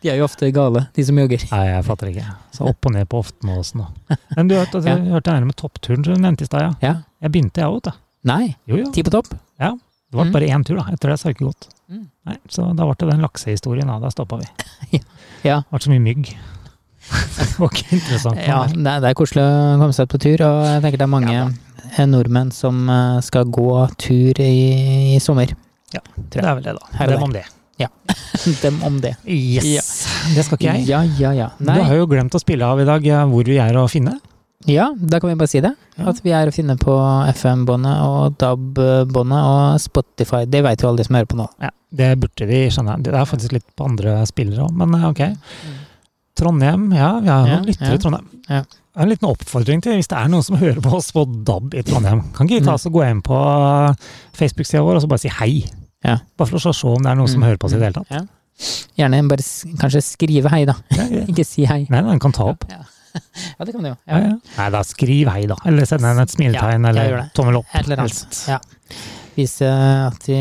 Speaker 3: de er jo ofte gale, de som jogger.
Speaker 4: Nei, jeg fatter ikke. Så opp og ned på Oftenåsen og Men du vet, at
Speaker 3: Ja.
Speaker 4: jeg hørte det her med toppturen som du nevnte i stad, ja.
Speaker 3: Ja.
Speaker 4: Jeg begynte jeg òg, da.
Speaker 3: Nei,
Speaker 4: Jo, jo.
Speaker 3: ti på topp.
Speaker 4: Det ble
Speaker 3: Mm.
Speaker 4: bare én tur, da. Etter det så har jeg ikke gått.
Speaker 3: Mm.
Speaker 4: Nei, så da ble det den laksehistorien, da. Da stoppa vi.
Speaker 3: Ja.
Speaker 4: Det ble så mye mygg. det var ikke interessant. noe
Speaker 3: Ja,
Speaker 4: mer.
Speaker 3: det, er- det er koselig å komme seg ut på tur, og jeg tenker det er mange
Speaker 4: Ja
Speaker 3: eh, nordmenn som eh, skal gå tur i, i sommer.
Speaker 4: det er vel det, da.
Speaker 3: Her og
Speaker 4: Dem
Speaker 3: der.
Speaker 4: om det.
Speaker 3: Dem om det.
Speaker 4: Yes! Det skal ikke jeg.
Speaker 3: Ja, ja, ja. Nei.
Speaker 4: Du har jo glemt å spille av i dag eh, hvor vi er å finne.
Speaker 3: Ja, da kan vi bare si det.
Speaker 4: Ja.
Speaker 3: At vi er å finne på FM-båndet og DAB-båndet og Spotify. Det vet jo alle de som hører på nå.
Speaker 4: Ja, det burde de skjønne. Det er faktisk litt på andre spillere òg, men eh, ok. Trondheim, ja. Vi har
Speaker 3: Ja,
Speaker 4: noen lyttere
Speaker 3: ja,
Speaker 4: i Trondheim.
Speaker 3: ja.
Speaker 4: En liten oppfordring til hvis det er noen som hører på oss på DAB i Trondheim. Kan ikke vi
Speaker 3: Mm.
Speaker 4: ta oss og gå inn på Facebook-sida vår og så bare si hei?
Speaker 3: Ja.
Speaker 4: Bare for å se om det er noen som
Speaker 3: Mm.
Speaker 4: hører på oss i det hele tatt.
Speaker 3: Ja. Gjerne bare s kanskje skrive hei, da.
Speaker 4: Ja, ja.
Speaker 3: Ikke si hei.
Speaker 4: Nei, den kan ta opp.
Speaker 3: Ja, ja det kan du jo.
Speaker 4: Ja, ja. Nei, da skriv hei, da. Eller send en et smiletegn
Speaker 3: Ja, jeg
Speaker 4: eller
Speaker 3: gjør det.
Speaker 4: tommel opp.
Speaker 3: Et eller annet.
Speaker 4: helst.
Speaker 3: Ja. Vise at de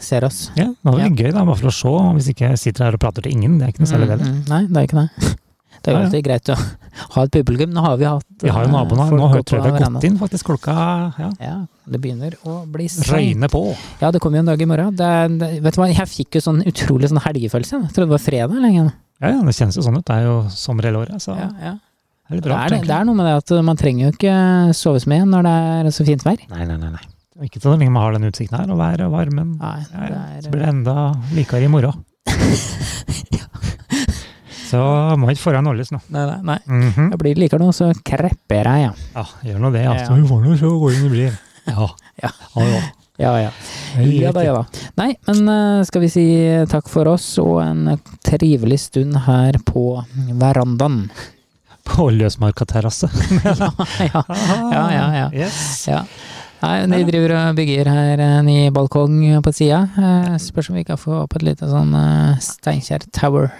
Speaker 3: ser oss.
Speaker 4: Ja, det var veldig gøy, da, bare for å se. Hvis ikke jeg sitter her og prater til ingen, det er ikke noe særlig
Speaker 3: Mm,
Speaker 4: bedre.
Speaker 3: mm. Nei, det er ikke det. Det er jo
Speaker 4: Ja, ja.
Speaker 3: alltid greit å ha et publikum. Nå har vi hatt
Speaker 4: Vi har jo
Speaker 3: eh,
Speaker 4: naboene her.
Speaker 3: folk
Speaker 4: Nå
Speaker 3: opp
Speaker 4: hører- tror
Speaker 3: på
Speaker 4: jeg vi har
Speaker 3: verandaen.
Speaker 4: gått inn, faktisk. Klokka ja,
Speaker 3: Ja, det begynner å bli seint.
Speaker 4: røyner på.
Speaker 3: Ja, det kommer jo en dag i morgen. Det er, det, vet du hva, jeg fikk jo sånn utrolig sånn helgefølelse. Jeg trodde det var fredag lenge.
Speaker 4: Ja, ja, det kjennes jo sånn ut. Det er jo sommer hele året, så
Speaker 3: Ja, ja.
Speaker 4: det er litt
Speaker 3: Det,
Speaker 4: rart.
Speaker 3: er, det
Speaker 4: egentlig.
Speaker 3: er noe med det at man trenger jo ikke sove så mye når det er så fint vær.
Speaker 4: Nei, nei, nei. nei. Ikke så lenge man har den utsikten her, og været og varmen.
Speaker 3: Nei,
Speaker 4: Ja,
Speaker 3: det
Speaker 4: ja. Så blir
Speaker 3: er,
Speaker 4: det enda likere i morgen. Så må ikke foran oljes nå.
Speaker 3: nei, nei, nei.
Speaker 4: Mhm.
Speaker 3: Jeg blir det likere nå, så krepper jeg, ja.
Speaker 4: Ja, gjør nå det.
Speaker 3: Ja.
Speaker 4: Altså. Vi får nå se hvor det blir. Ja.
Speaker 3: Ja.
Speaker 4: Ja, ja.
Speaker 3: Ja, ja.
Speaker 4: Jeg
Speaker 3: Ja da, ja da. Nei, men eh, skal vi si takk for oss og en trivelig stund her på verandaen.
Speaker 4: På Løsmarka-terrasse.
Speaker 3: ja, ja, ja, ja, ja.
Speaker 4: Yes.
Speaker 3: ja. Nei, men de driver og bygger her en ny balkong på sida. Eh, Spørs om vi kan få opp et lite sånn eh, Steinkjer Tower.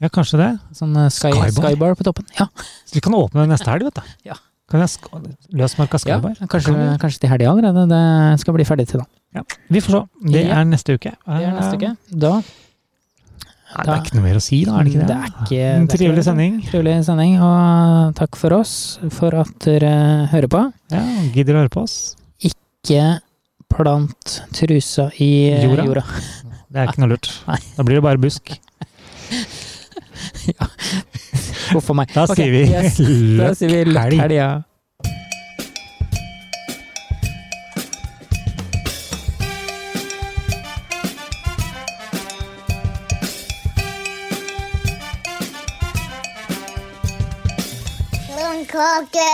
Speaker 4: Ja, kanskje det.
Speaker 3: Sånn eh, sky,
Speaker 4: Skybar?
Speaker 3: skybar. på toppen. Ja,
Speaker 4: Så vi kan åpne den neste helg, vet du.
Speaker 3: Ja.
Speaker 4: Kan jeg sk- Løsmarka
Speaker 3: ja.
Speaker 4: Skybar.
Speaker 3: Kanskje, kanskje til helga allerede. Det skal bli ferdig til da.
Speaker 4: Vi får se. Det
Speaker 3: Ja.
Speaker 4: er neste uke.
Speaker 3: Det er neste uke. Da
Speaker 4: Nei, det er ikke noe mer å si, da. er det ikke
Speaker 3: Mm,
Speaker 4: det?
Speaker 3: Det er ikke-
Speaker 4: En
Speaker 3: det er ikke
Speaker 4: trivelig
Speaker 3: det.
Speaker 4: sending.
Speaker 3: Trivelig sending, og takk for oss for at dere hører på.
Speaker 4: Ja, Gidder å høre på oss.
Speaker 3: Ikke plant trusa i eh,
Speaker 4: Jorda.
Speaker 3: jorda.
Speaker 4: Det er ikke noe lurt.
Speaker 3: Nei.
Speaker 4: Da blir det bare busk.
Speaker 3: Huff a meg.
Speaker 4: Da
Speaker 3: Ok,
Speaker 4: sier vi
Speaker 3: yes. Da sier vi
Speaker 4: løkkelg.
Speaker 3: løkkhelg, ja.
Speaker 2: Blomkake!